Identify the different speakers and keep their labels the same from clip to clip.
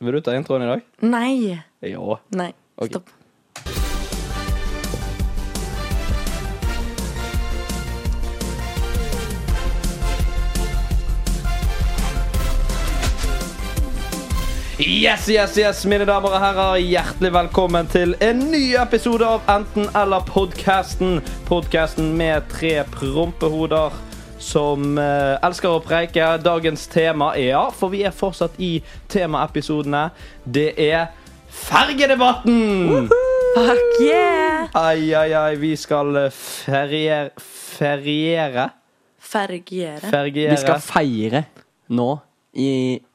Speaker 1: Vil du ta introen i dag?
Speaker 2: Nei.
Speaker 1: Ja.
Speaker 2: Nei.
Speaker 1: Ok.
Speaker 2: Stopp.
Speaker 1: Yes, yes, yes, mine damer og herrer. Hjertelig velkommen til en ny episode av Enten eller-podkasten. Podkasten med tre prompehoder som eh, elsker å preike. Dagens tema er Ja, for vi er fortsatt i temaepisodene. Det er fergedebatten!
Speaker 2: Fuck yeah!
Speaker 1: Ai, ai, ai. Vi skal eh, ferier... Feriere?
Speaker 2: Fergiere.
Speaker 1: Fergiere.
Speaker 3: Vi skal feire nå i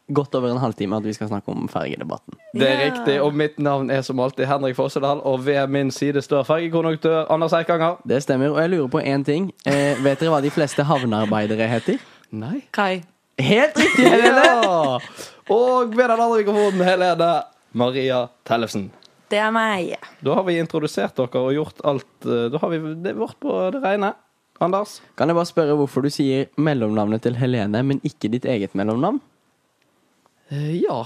Speaker 3: godt over en halvtime at vi skal snakke om fergedebatten.
Speaker 1: Det er
Speaker 2: Ja.
Speaker 1: riktig, og mitt navn er som alltid Henrik Fossedal, og ved min side står fergekonduktør Anders Eikanger.
Speaker 3: Det stemmer. Og jeg lurer på én ting. Eh, vet dere hva de fleste havnearbeidere heter?
Speaker 1: Nei.
Speaker 2: Kai.
Speaker 3: Helt riktig!
Speaker 1: Ja! Og ved den andre mikrofonen, Helene Maria Tellefsen.
Speaker 2: Det er meg.
Speaker 1: Da har vi introdusert dere og gjort alt eh, Da har vi det vårt på det rene. Anders?
Speaker 3: Kan jeg bare spørre hvorfor du sier mellomnavnet til Helene, men ikke ditt eget mellomnavn?
Speaker 1: Eh, Ja,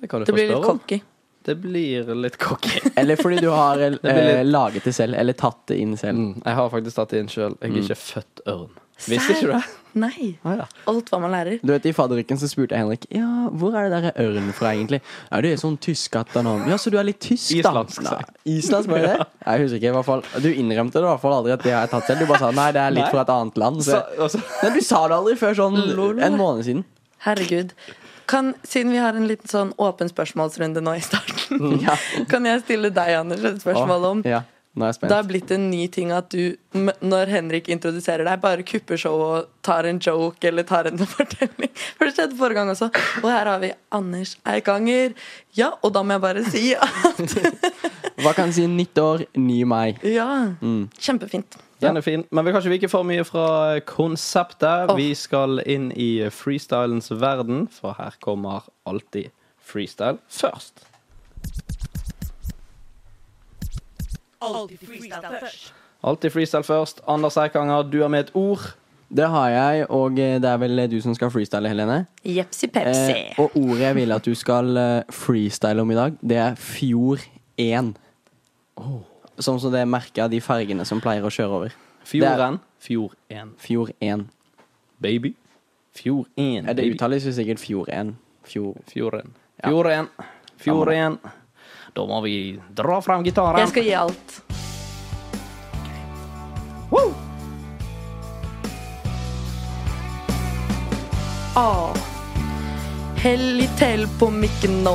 Speaker 1: det kan du
Speaker 2: Det blir litt cocky.
Speaker 1: Det blir litt cocky.
Speaker 3: Eller fordi du har eh,
Speaker 1: blir litt-
Speaker 3: laget det selv, eller tatt det inn selv.
Speaker 1: Mm, jeg har faktisk tatt det inn sjøl. Jeg er ikke født ørn. Mm. Visste ikke du det?
Speaker 2: Nei.
Speaker 1: Ah, ja.
Speaker 2: Alt hva man lærer.
Speaker 3: Du vet, I fadderuken så spurte jeg Henrik Ja, hvor er det der er ørn fra, egentlig. Ja, det er sånn tysk at han har Ja, så du er litt tysk, da?
Speaker 1: Islandsk, sa jeg.
Speaker 3: Nei, Islandsk, var det det? Jeg husker ikke, i hvert fall Du innrømte det i hvert fall aldri at det har jeg tatt selv. Du bare sa nei, det er litt
Speaker 1: Nei.
Speaker 3: fra et annet land. Så.
Speaker 1: Så, altså,
Speaker 3: Nei, du sa det aldri før sånn en måned siden.
Speaker 2: Herregud. Kan, siden vi har en liten sånn åpen spørsmålsrunde nå i starten,
Speaker 3: Mm, Ja.
Speaker 2: kan jeg stille deg, Anders, et spørsmål om
Speaker 3: Ja, nå er jeg
Speaker 2: Det
Speaker 3: spent.
Speaker 2: har blitt en ny ting at du, m- når Henrik introduserer deg, bare kupper showet og tar en joke eller tar en fortelling. For det skjedde forrige gang også. Og her har vi Anders Eikanger. Ja, og da må jeg bare si at
Speaker 3: Hva kan jeg si? Nytt år, ny meg.
Speaker 2: Ja. Kjempefint.
Speaker 1: Den er fin, men vi kan ikke vike for mye fra konseptet.
Speaker 2: Åh.
Speaker 1: Vi skal inn i freestylens verden, for her kommer alltid freestyle først. Alltid freestyle først. Anders Eikanger, du har med et ord.
Speaker 3: Det har jeg, og eh, det er vel du som skal freestyle, Helene.
Speaker 2: Jepsi pepsi.
Speaker 3: Eh, og ordet jeg vil at du skal eh, freestyle om i dag, det er Fjord 1. Sånn som det merker de fergene som pleier å kjøre over.
Speaker 1: Fjorden. Fjord 1,
Speaker 3: Fjord 1.
Speaker 1: baby. Fjord 1,
Speaker 3: Eh, Det
Speaker 1: baby.
Speaker 3: uttales jo sikkert Fjord 1. Fjord.
Speaker 1: Fjorden.
Speaker 3: Ja.
Speaker 1: Fjorden.
Speaker 3: Samme
Speaker 1: Fjorden. Da må vi dra fram gitaren.
Speaker 2: Jeg skal gi alt.
Speaker 1: Woo!
Speaker 2: A. Hell i tell på mikken nå.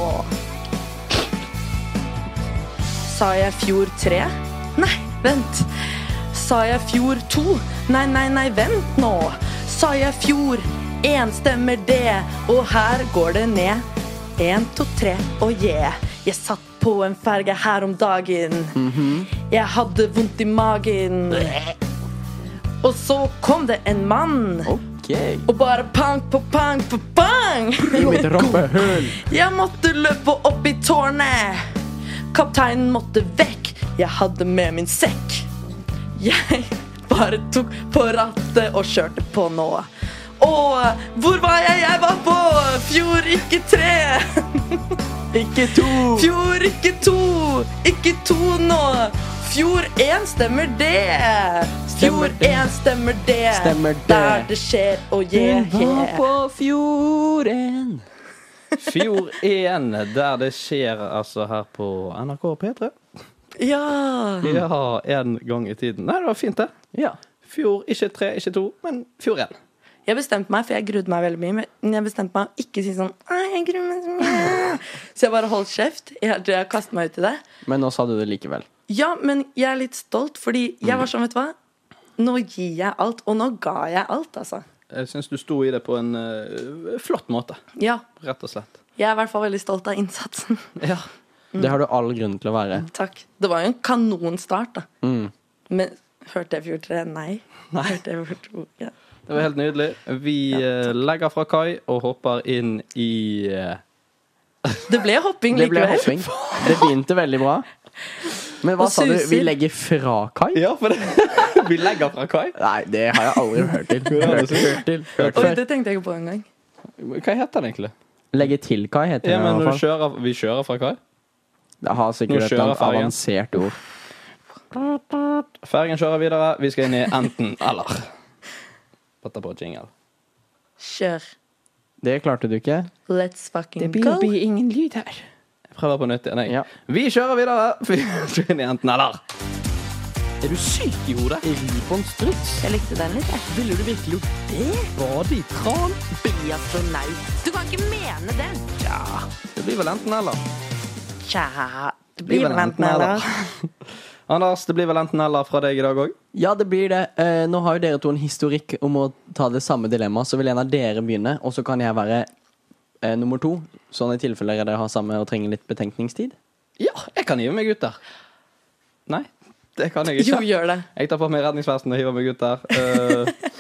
Speaker 2: Sa jeg fjor tre? Nei, vent. Sa jeg fjor to? Nei, nei, nei, vent nå. Sa jeg fjor én, stemmer det. Og her går det ned. Én, to, tre, og yeah. Jeg satt på en ferge her om dagen. Jeg hadde vondt i magen. Og så kom det en mann.
Speaker 3: OK.
Speaker 2: Og bare pang på pang på pang!
Speaker 3: I mitt rumpehull.
Speaker 2: Jeg måtte løpe opp i tårnet. Kapteinen måtte vekk. Jeg hadde med min sekk. Jeg bare tok på rattet og kjørte på nå. Og hvor var jeg? Jeg var på fjor, ikke tre.
Speaker 3: Ikke to.
Speaker 2: Fjor, ikke to. Ikke to nå. Fjor én, stemmer det? Fjor
Speaker 3: Stemmer det.
Speaker 2: én, stemmer det?
Speaker 3: Stemmer det.
Speaker 2: Der det skjer, og yeah,
Speaker 3: Hun var
Speaker 2: yeah.
Speaker 3: på fjorden.
Speaker 1: Fjord 1, der det skjer altså her på NRK P3.
Speaker 2: Ja.
Speaker 1: Ja, en gang i tiden. Nei, det var fint, det.
Speaker 3: Mm. Ja.
Speaker 1: Fjord ikke tre, ikke to, men fjord 1.
Speaker 2: Jeg bestemte meg, for jeg grudde meg veldig mye. Men jeg bestemte meg å ikke si sånn «Ai, jeg gruer meg så mye. Så jeg bare holdt kjeft. Jeg, jeg kastet meg ut i det.
Speaker 3: Men nå sa du det likevel.
Speaker 2: Ja, men jeg er litt stolt, fordi jeg var sånn, vet du hva. Nå gir jeg alt, og nå ga jeg alt, altså.
Speaker 1: Jeg syns du sto i det på en eh, flott måte,
Speaker 2: Ja.
Speaker 1: rett og slett.
Speaker 2: Jeg er i hvert fall veldig stolt av innsatsen.
Speaker 1: Ja.
Speaker 2: Mm.
Speaker 3: Det har du all grunn til å være.
Speaker 2: Takk. Det var jo en kanonstart, da.
Speaker 3: Mm.
Speaker 2: Men hørte jeg fjor tre? Nei. Hørte jeg fjor to? Ja.
Speaker 1: Det var helt nydelig. Vi eh, legger fra kai og hopper inn i eh,
Speaker 2: Det ble hopping
Speaker 3: Det ble
Speaker 2: likevel.
Speaker 3: hopping. Det begynte veldig bra. Men hva
Speaker 2: Og
Speaker 3: sa du? Vi
Speaker 2: suser.
Speaker 3: legger fra kai?
Speaker 1: Ja, for det Vi legger fra kai.
Speaker 3: Nei, det har jeg aldri hørt til. Hørt, hørt til. Hørt
Speaker 2: Oi,
Speaker 3: før.
Speaker 2: det tenkte jeg ikke på engang.
Speaker 1: Hva heter den egentlig?
Speaker 3: Legge til kai, heter
Speaker 1: Ja,
Speaker 3: det.
Speaker 1: men
Speaker 3: i
Speaker 1: når du
Speaker 3: hvert fall.
Speaker 1: kjører, Vi kjører fra kai?
Speaker 3: Det har
Speaker 1: når du
Speaker 3: sikkert et
Speaker 1: kjører
Speaker 3: eller annet
Speaker 1: fergen.
Speaker 3: avansert ord.
Speaker 1: Fergen kjører videre. Vi skal inn i enten eller. Patta på jingle.
Speaker 2: Kjør.
Speaker 3: Det klarte du ikke.
Speaker 2: Let's fucking go.
Speaker 3: ingen lyd her.
Speaker 1: Jeg prøver på nytt igjen. jeg.
Speaker 3: Ja.
Speaker 1: Vi kjører videre. Vi skal inn i enten eller. Er du syk i hodet?
Speaker 3: Riponstruts?
Speaker 2: Jeg likte den litt, jeg.
Speaker 3: Ville du virkelig gjort det?
Speaker 1: Bade i tran?
Speaker 2: Bli astronaut. Du kan ikke mene det.
Speaker 1: Ja. Det blir vel enten eller.
Speaker 2: Tja. Du
Speaker 1: blir
Speaker 2: blir
Speaker 1: vel
Speaker 2: vent med
Speaker 1: enten
Speaker 2: det.
Speaker 1: Anders, det blir vel enten eller fra deg i dag òg?
Speaker 3: Ja, det blir det. Eh, nå har jo dere to en historikk om å ta det samme dilemmaet, så vil en av dere begynne, og så kan jeg være eh, nummer to. Sånn i tilfelle dere har samme og trenger litt betenkningstid.
Speaker 1: Ja, jeg kan hive meg ut der. Nei, det kan jeg
Speaker 2: Jo,
Speaker 1: ikke.
Speaker 2: gjør det.
Speaker 1: Jeg tar på meg redningsvesten og hiver meg ut der. Eh,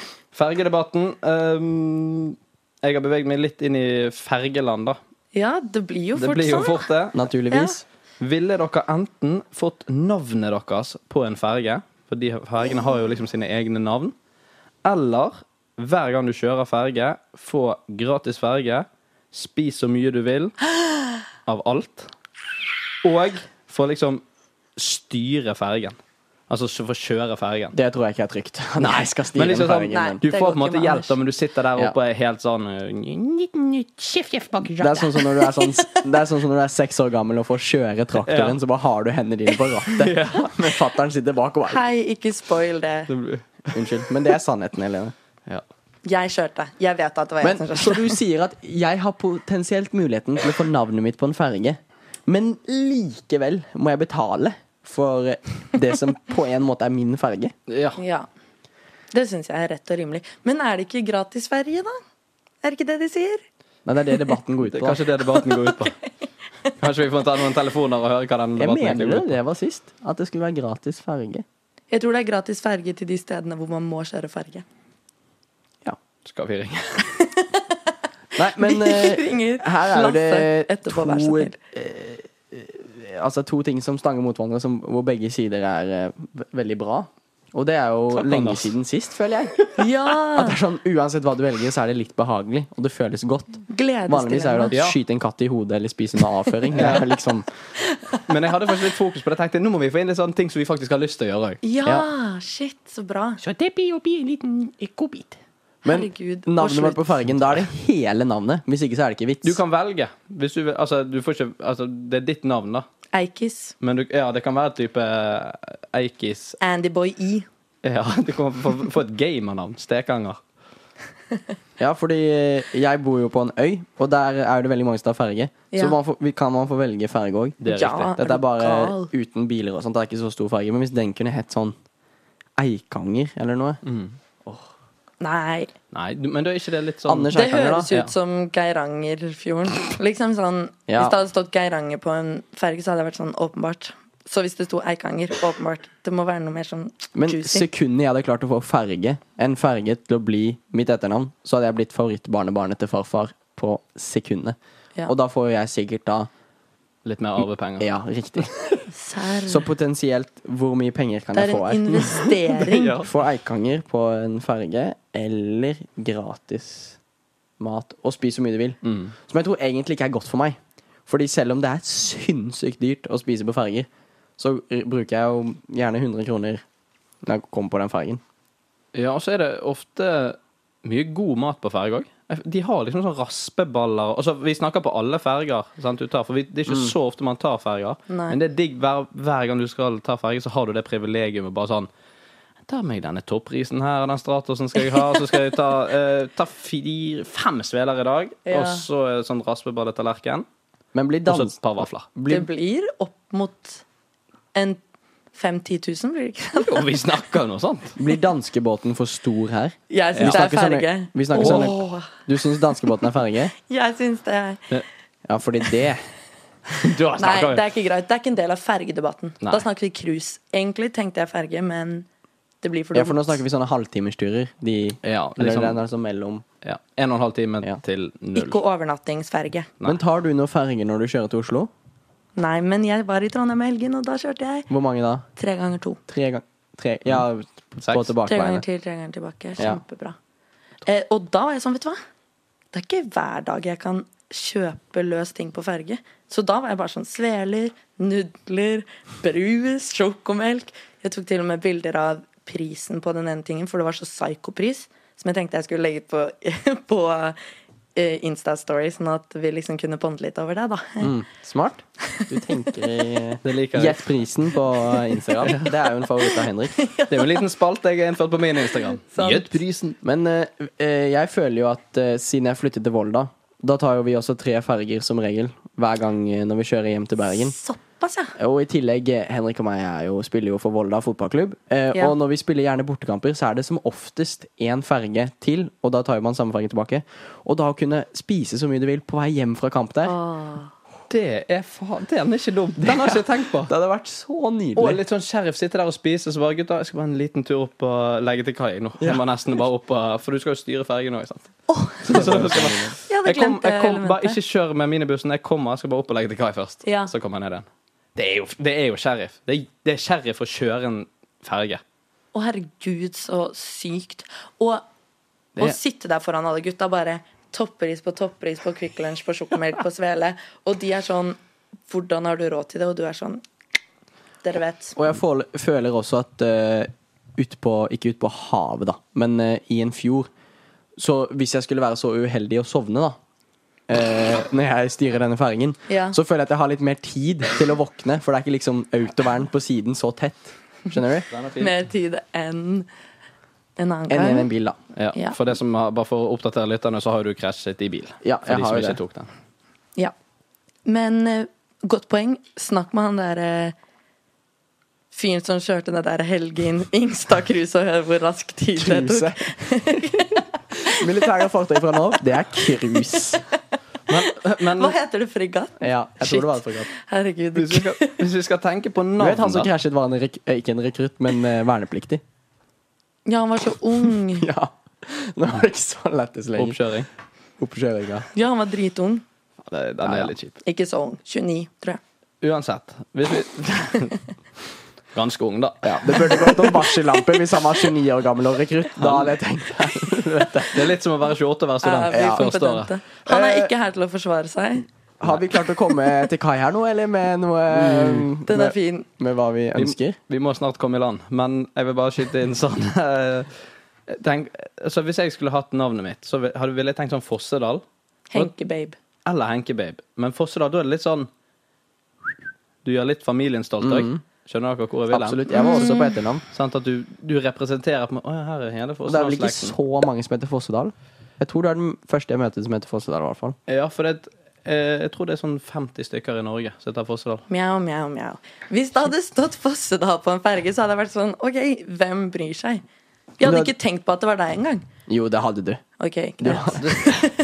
Speaker 1: fergedebatten. ehm, jeg har beveget meg litt inn i fergeland, da.
Speaker 2: Ja, det blir jo
Speaker 1: Det
Speaker 2: fort
Speaker 1: blir jo
Speaker 2: sånn. da.
Speaker 1: fort det.
Speaker 3: Naturligvis.
Speaker 1: Ville dere enten fått navnet deres på en ferge, for de fergene har jo liksom sine egne navn, eller hver gang du kjører ferge, få gratis ferge, spis så mye du vil av alt, og få liksom styre fergen. Altså så få kjøre fergen.
Speaker 3: Det tror jeg ikke er trygt. Nei, jeg skal
Speaker 1: Men
Speaker 3: styre
Speaker 1: liksom
Speaker 3: liksom,
Speaker 1: sånn,
Speaker 2: Nei.
Speaker 3: min.
Speaker 1: Du
Speaker 2: det
Speaker 1: får
Speaker 2: går
Speaker 1: på en måte
Speaker 2: ikke med
Speaker 1: hjelp, da,
Speaker 2: Anders.
Speaker 1: men du sitter der
Speaker 3: Ja.
Speaker 1: oppe og er helt sånn eh,
Speaker 3: Det er sånn som når du er, sånn, det er sånn som når du er seks år gammel og får kjøre traktoren,
Speaker 1: Ja.
Speaker 3: så bare har du hendene dine på rattet. Men fatter'n sitter bak og bare
Speaker 2: Hei, ikke spoil det.
Speaker 3: Unnskyld. Men det er sannheten, Helene.
Speaker 1: ja.
Speaker 2: Jeg kjørte. Jeg vet at det var jeg
Speaker 3: Men,
Speaker 2: som
Speaker 3: så
Speaker 2: kjørte.
Speaker 3: du sier at jeg har potensielt muligheten til å få navnet mitt på en ferge, men likevel må jeg betale for det som på en måte er min ferge?
Speaker 1: ja.
Speaker 2: Ja. Det syns jeg er rett og rimelig. Men er det ikke gratis ferie, da? Er det ikke det de sier?
Speaker 3: Nei, det er det debatten går ut
Speaker 1: Det er
Speaker 3: på.
Speaker 1: kanskje det debatten går ut på. Kanskje vi får ta noen telefoner og høre hva den
Speaker 3: Jeg
Speaker 1: debatten
Speaker 3: mener
Speaker 1: egentlig
Speaker 3: det,
Speaker 1: går ut på.
Speaker 3: det var sist. At det skulle være gratis ferge.
Speaker 2: Jeg tror det er gratis ferge til de stedene hvor man må kjøre ferge.
Speaker 1: Skal vi ringe?
Speaker 3: Nei, men
Speaker 2: Vi ringer
Speaker 3: eh, her er jo
Speaker 2: Lasse
Speaker 3: det
Speaker 2: etterpå,
Speaker 3: to
Speaker 2: vær så snill.
Speaker 3: eh, Altså to ting som stanger mot hverandre, som, hvor begge sider er eh, ve- veldig bra. Og det er jo
Speaker 1: Takk,
Speaker 3: lenge
Speaker 1: Anders.
Speaker 3: siden sist, føler jeg. At
Speaker 2: Ja!
Speaker 3: det er sånn, Uansett hva du velger, så er det litt behagelig, og det føles godt. Vanligvis er
Speaker 2: Gledesdilemma.
Speaker 3: det
Speaker 1: Ja.
Speaker 3: at skyte en katt i hodet eller spise noe avføring. Det er liksom
Speaker 1: Men jeg hadde faktisk litt fokus på det. Jeg tenkte, Nå må vi få inn litt sånne ting som vi faktisk har lyst til å gjøre òg.
Speaker 2: Ja, shit, så bra.
Speaker 1: Så det blir jo en liten godbit.
Speaker 3: Men
Speaker 2: Herregud,
Speaker 3: navnet
Speaker 2: og
Speaker 3: mitt på
Speaker 2: slutt.
Speaker 3: fargen, da er det hele navnet. Hvis ikke, så er det ikke
Speaker 1: Du
Speaker 3: vits.
Speaker 1: kan velge. Hvis du, vil- altså, du får ikke, altså, det er ditt navn, da.
Speaker 2: Eikis.
Speaker 1: Men du, ja, det kan være type eh, Eikis
Speaker 2: Andyboy E.
Speaker 1: Ja, du kan få, få et gamernavn. Stekanger.
Speaker 3: Ja, fordi jeg bor jo på en øy, og der er det veldig mange som tar ferge. Så
Speaker 2: Ja.
Speaker 3: man får, vi- kan man få velge ferge òg.
Speaker 1: Det er
Speaker 2: Ja.
Speaker 1: riktig.
Speaker 3: Dette er bare
Speaker 2: Gal.
Speaker 3: uten biler og sånt. Det er ikke så stor ferge. Men hvis den kunne hett sånn Eikanger eller noe
Speaker 2: Nei.
Speaker 1: Nei, du, men da er ikke det litt sånn
Speaker 3: Anders
Speaker 2: Det
Speaker 3: Eikanger, da.
Speaker 2: høres ut som Geirangerfjorden. Liksom sånn
Speaker 3: Ja.
Speaker 2: Hvis det hadde stått Geiranger på en ferge, så hadde det vært sånn åpenbart. Så hvis det sto Eikanger, åpenbart. Det må være noe mer sånn
Speaker 3: Men
Speaker 2: juicy.
Speaker 3: sekundet jeg hadde klart å få ferge, en ferge til å bli mitt etternavn, så hadde jeg blitt favorittbarnebarnet til farfar på sekundet.
Speaker 2: Ja.
Speaker 3: Og da får jo jeg sikkert da
Speaker 1: Litt mer arvepenger.
Speaker 3: Ja, riktig.
Speaker 2: Serr.
Speaker 3: Så potensielt hvor mye penger kan
Speaker 2: Det er
Speaker 3: jeg få
Speaker 2: en
Speaker 3: her?
Speaker 2: investering.
Speaker 1: Ja.
Speaker 3: Få Eikanger på en ferge, eller gratis mat. Og spis så mye du vil.
Speaker 1: Mm.
Speaker 3: Som jeg tror egentlig ikke er godt for meg. Fordi selv om det er sinnssykt dyrt å spise på ferger, så r- bruker jeg jo gjerne 100 kroner når jeg kommer på den fergen.
Speaker 1: Ja, og så er det ofte mye god mat på ferge òg. De har liksom sånn raspeballer altså, Vi snakker på alle ferger, sant, du tar, for vi, det er ikke så ofte man tar ferger.
Speaker 2: Nei.
Speaker 1: Men det er digg hver, hver gang du skal ta ferge, så har du det privilegiumet bare sånn Ta meg denne topprisen her, den Stratosen skal jeg ha. Så skal jeg ta, eh, ta fire, fem sveler i dag,
Speaker 2: Ja.
Speaker 1: og så eh, sånn raspeballetallerken.
Speaker 3: Men blir
Speaker 1: Og så
Speaker 3: dans...
Speaker 1: et par vafler.
Speaker 2: Det blir opp mot en 5 10 000, blir det ikke det?
Speaker 1: Og vi snakker noe sånt.
Speaker 3: Blir danskebåten for stor her?
Speaker 2: Jeg
Speaker 3: Vi
Speaker 2: syns det er
Speaker 3: snakker sånn-
Speaker 2: ferge.
Speaker 3: vi snakker sånn-
Speaker 2: Åh,
Speaker 3: Du syns danskebåten er ferge?
Speaker 2: jeg syns det er
Speaker 3: Ja, fordi det
Speaker 1: Da
Speaker 2: Nei,
Speaker 1: snakker
Speaker 2: det
Speaker 1: vi.
Speaker 2: er ikke greit. Det er ikke en del av fergedebatten.
Speaker 1: Nei.
Speaker 2: Da snakker vi cruise. Egentlig tenkte jeg ferge, men det blir for
Speaker 3: Ja,
Speaker 2: dumt.
Speaker 3: for nå snakker vi sånne halvtimesturer. De
Speaker 1: Ja,
Speaker 3: Eller
Speaker 1: liksom,
Speaker 3: den er sånn mellom
Speaker 1: ja, en og en halv time
Speaker 3: Ja.
Speaker 1: til null.
Speaker 2: Ikke overnattingsferge.
Speaker 1: Nei.
Speaker 3: Men tar du noe ferge når du kjører til Oslo?
Speaker 2: Nei, men jeg var i Trondheim i helgen, og da kjørte jeg
Speaker 3: Hvor mange da?
Speaker 2: tre ganger to.
Speaker 3: Tre ganger tre, Ja, på
Speaker 1: Seks.
Speaker 2: Tre ganger
Speaker 3: tilbakeveiene.
Speaker 2: til, tre ganger tilbake.
Speaker 3: Ja.
Speaker 2: Kjempebra. Eh, og da var jeg sånn, vet du hva? Det er ikke hver dag jeg kan kjøpe løs ting på ferge. Så da var jeg bare sånn sveler, nudler, brus, sjokomelk. Jeg tok til og med bilder av prisen på den ene tingen, for det var så psykopris. Som jeg tenkte jeg skulle legge ut på, på eh, Insta-story, sånn at vi liksom kunne bonde litt over det, da.
Speaker 3: Mm. Smart. Du tenker i
Speaker 1: Det liker jeg.
Speaker 3: Gjett prisen på eh, Instagram. Det er jo en favoritt av Henrik.
Speaker 1: Det er jo en liten spalt jeg har innført på min Instagram.
Speaker 2: Sant.
Speaker 1: Gjett prisen.
Speaker 3: Men eh, eh, jeg føler jo at eh, siden jeg flyttet til Volda Da tar jo vi også tre ferger som regel hver gang eh, når vi kjører hjem til Bergen.
Speaker 2: Såpass, ja.
Speaker 3: Og i tillegg, eh, Henrik og meg er jo, spiller jo for Volda fotballklubb. Eh,
Speaker 2: Ja.
Speaker 3: Og når vi spiller gjerne bortekamper, så er det som oftest én ferge til. Og da tar jo man samme ferge tilbake. Og da å kunne spise så mye du vil på vei hjem fra kamp der,
Speaker 1: Det er faen Den er ikke dum. Den har jeg ikke tenkt på.
Speaker 3: det hadde vært så
Speaker 1: Og
Speaker 3: nydelig.
Speaker 1: litt sånn sheriff sitter der og spiser, så bare gutta, jeg skal bare en liten tur opp og legge til kai nå. Jeg må nesten bare opp og, For du skal jo styre fergen òg, ikke sant? Så, så, jeg, skal bare,
Speaker 2: Jeg hadde
Speaker 1: jeg kom,
Speaker 2: glemt det
Speaker 1: jeg kom bare
Speaker 2: elementet.
Speaker 1: Ikke kjør med minibussen, jeg kommer, jeg skal bare opp og legge til kai først.
Speaker 2: Ja.
Speaker 1: Så kommer jeg ned igjen. Det er jo, det er jo sheriff. Det er, det er sheriff å kjøre en ferge.
Speaker 2: Å, herregud, så sykt. Og å
Speaker 1: Det-
Speaker 2: sitte der foran alle gutta, bare topperis på topperis på Kvikk Lunsj på sjokomelk på svele, og de er sånn Hvordan har du råd til det? Og du er sånn Dere vet.
Speaker 3: Og jeg får, føler også at eh, ut på, Ikke ut på havet, da, men eh, i en fjord Så hvis jeg skulle være så uheldig å sovne, da eh, når jeg styrer denne fergen,
Speaker 2: Ja.
Speaker 3: så føler jeg at jeg har litt mer tid til å våkne. For det er ikke liksom autovern på siden så tett. Skjønner du?
Speaker 1: Den er
Speaker 2: Mer tid enn en annen
Speaker 3: Enn i
Speaker 2: gang.
Speaker 3: en bil, da.
Speaker 1: Ja,
Speaker 2: Ja.
Speaker 1: For det som har, bare for å oppdatere lytterne, så har du krasjet i bil.
Speaker 3: Ja,
Speaker 1: for
Speaker 3: jeg
Speaker 1: de
Speaker 3: har
Speaker 1: som
Speaker 3: jo
Speaker 1: ikke
Speaker 3: det.
Speaker 1: tok den.
Speaker 2: Ja. Men eh, godt poeng. Snakk med han derre fyren som kjørte den der Helgin Ingstad-cruise, og hør hvor rask tid det tok.
Speaker 3: Kruse. Militære fartøy fra nå av, det er cruise.
Speaker 1: Men
Speaker 2: Hva heter det? Fregatt?
Speaker 3: Ja, jeg
Speaker 2: Shit.
Speaker 3: tror det var et fregatt.
Speaker 2: Herregud.
Speaker 1: hvis vi, skal, hvis vi skal tenke på
Speaker 3: Du vet han
Speaker 1: navn,
Speaker 3: som
Speaker 1: da.
Speaker 3: krasjet, var en rek eh, ikke en rekrutt, men eh, vernepliktig.
Speaker 2: Ja, han var så ung.
Speaker 3: Ja. Nå var det ikke så lættis lenger.
Speaker 1: Oppkjøring.
Speaker 3: Oppkjøringa.
Speaker 2: Ja, han var dritung.
Speaker 1: Ja, det- Den
Speaker 3: Ja, ja.
Speaker 1: er litt kjip.
Speaker 2: Ikke så ung. 29, tror jeg.
Speaker 1: Uansett. Hvis vi Ganske ung, da.
Speaker 3: Ja, det burde gått om varsellampe hvis han var 29 år gammel og rekrutt. Da hadde jeg tenkt helvete.
Speaker 1: Det er litt som å være 28 og være student.
Speaker 2: Er vi
Speaker 3: ja.
Speaker 1: første
Speaker 2: kompetente?
Speaker 1: året.
Speaker 2: Han er
Speaker 3: Eh,
Speaker 2: ikke her til å forsvare seg.
Speaker 3: Har vi klart å komme til kai her nå, eller med noe med,
Speaker 2: Den er fin.
Speaker 3: med hva Mm. vi
Speaker 1: Vi,
Speaker 3: ønsker?
Speaker 1: vi må snart komme i land, men jeg vil bare skyte inn sånn eh, tenk, altså Hvis jeg skulle hatt navnet mitt, så vil- hadde- ville jeg tenkt sånn Fossedal
Speaker 2: Henke-babe.
Speaker 1: eller Henkebabe. Men Fossedal, da er det litt sånn Du gjør litt familien stolt òg. Skjønner dere hvor jeg vil hen?
Speaker 3: Absolutt. Jeg var også på etternavn.
Speaker 1: Sant, at du, du representerer på en måte, Å ja, her er hele
Speaker 3: Og det er vel ikke
Speaker 1: Fossedal-slekten.
Speaker 3: så mange som heter Fossedal? Jeg tror det er den første jeg møter som heter Fossedal. I hvert fall.
Speaker 1: Ja, for det, eh, jeg tror det er sånn 50 stykker i Norge som heter Fossedal.
Speaker 2: Mjau, mjau, mjau. Hvis det hadde stått Fossedal på en ferge, så hadde jeg vært sånn OK, hvem bryr seg? Jeg hadde
Speaker 3: Men det-
Speaker 2: ikke tenkt på at det var deg engang.
Speaker 3: Jo, det hadde du.
Speaker 2: Ok,
Speaker 3: du
Speaker 2: greit.
Speaker 3: hadde.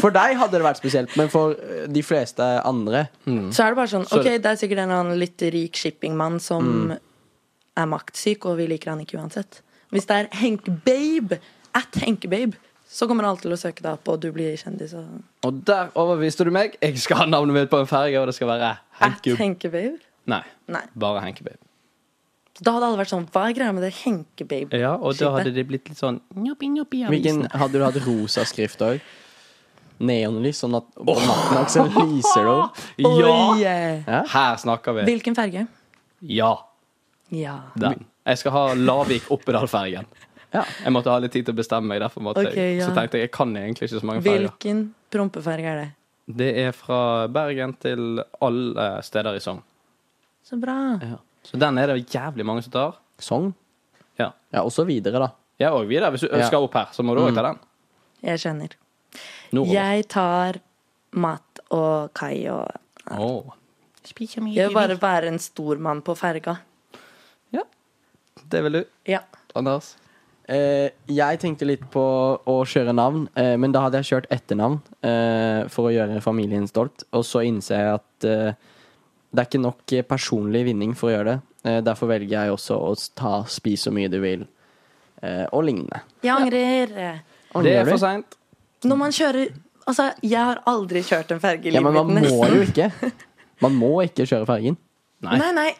Speaker 3: For deg hadde det vært spesielt, men for eh, de fleste andre
Speaker 2: Så er det bare sånn
Speaker 1: Mm. Så- Mm.
Speaker 2: OK, det er sikkert en eller annen litt rik shippingmann som er maktsyk, og vi liker han ikke uansett. Hvis det er Henke-babe at Henke-babe, så kommer alle til å søke deg opp, og du blir kjendis. Og...
Speaker 1: Og der overbeviste du meg. Jeg skal ha navnet mitt på en ferge, og det skal være
Speaker 2: At
Speaker 1: Henke...
Speaker 2: Henke-babe?
Speaker 1: Nei,
Speaker 2: Nei.
Speaker 1: bare Henkebabe.
Speaker 2: Da hadde alle vært sånn Hva er greia med det henkebabe?
Speaker 1: Ja, og da hadde det blitt litt sånn njoppi, njoppi, i
Speaker 3: Hvilken
Speaker 1: avisen.
Speaker 3: hadde du hatt rosa skrift òg? Neonlys, sånn at på natten også lyser det opp.
Speaker 1: Ah! Ja!
Speaker 3: Ja.
Speaker 1: Her snakker vi.
Speaker 2: eh. Hvilken farge?
Speaker 1: Ja,
Speaker 2: Ja.
Speaker 1: den. Jeg skal ha Lavik-Oppedal-fergen.
Speaker 3: Ja.
Speaker 1: Jeg måtte ha litt tid til å bestemme meg, derfor måtte
Speaker 2: Ok,
Speaker 1: jeg.
Speaker 2: ja.
Speaker 1: Så tenkte jeg jeg kan egentlig ikke så mange ferger.
Speaker 2: Hvilken prompefarge er det?
Speaker 1: Det er fra Bergen til alle steder i Sogn.
Speaker 2: Så bra.
Speaker 1: Så den er det jævlig mange som tar.
Speaker 3: Sogn.
Speaker 1: Ja.
Speaker 3: sånn. Ja, og så videre, da.
Speaker 1: Ja, Mm. og videre. Hvis du
Speaker 3: Ja.
Speaker 1: skal opp her, så må du òg ta den.
Speaker 2: Jeg skjønner.
Speaker 1: Nordover.
Speaker 2: Jeg tar mat og kai og
Speaker 1: Åh.
Speaker 2: Jeg vil bare være en stor mann på ferga.
Speaker 1: Ja. Det vil du,
Speaker 2: Ja.
Speaker 1: Anders.
Speaker 3: Eh, jeg tenkte litt på å kjøre navn, eh, men da hadde jeg kjørt etternavn eh, for å gjøre familien stolt. Og så innser jeg at eh, det er ikke nok eh, personlig vinning for å gjøre det. Eh, derfor velger jeg også å ta 'spis så mye du vil' eh, og lignende.
Speaker 2: Jeg angrer.
Speaker 1: Det er
Speaker 3: Angrer du?
Speaker 1: for seint.
Speaker 2: Når man kjører Altså, jeg har aldri kjørt en ferge i
Speaker 3: Ja,
Speaker 2: livet
Speaker 3: men man
Speaker 2: mitt.
Speaker 3: må
Speaker 2: nesten.
Speaker 3: jo ikke. Man må ikke kjøre fergen.
Speaker 1: Nei.
Speaker 2: Nei, nei.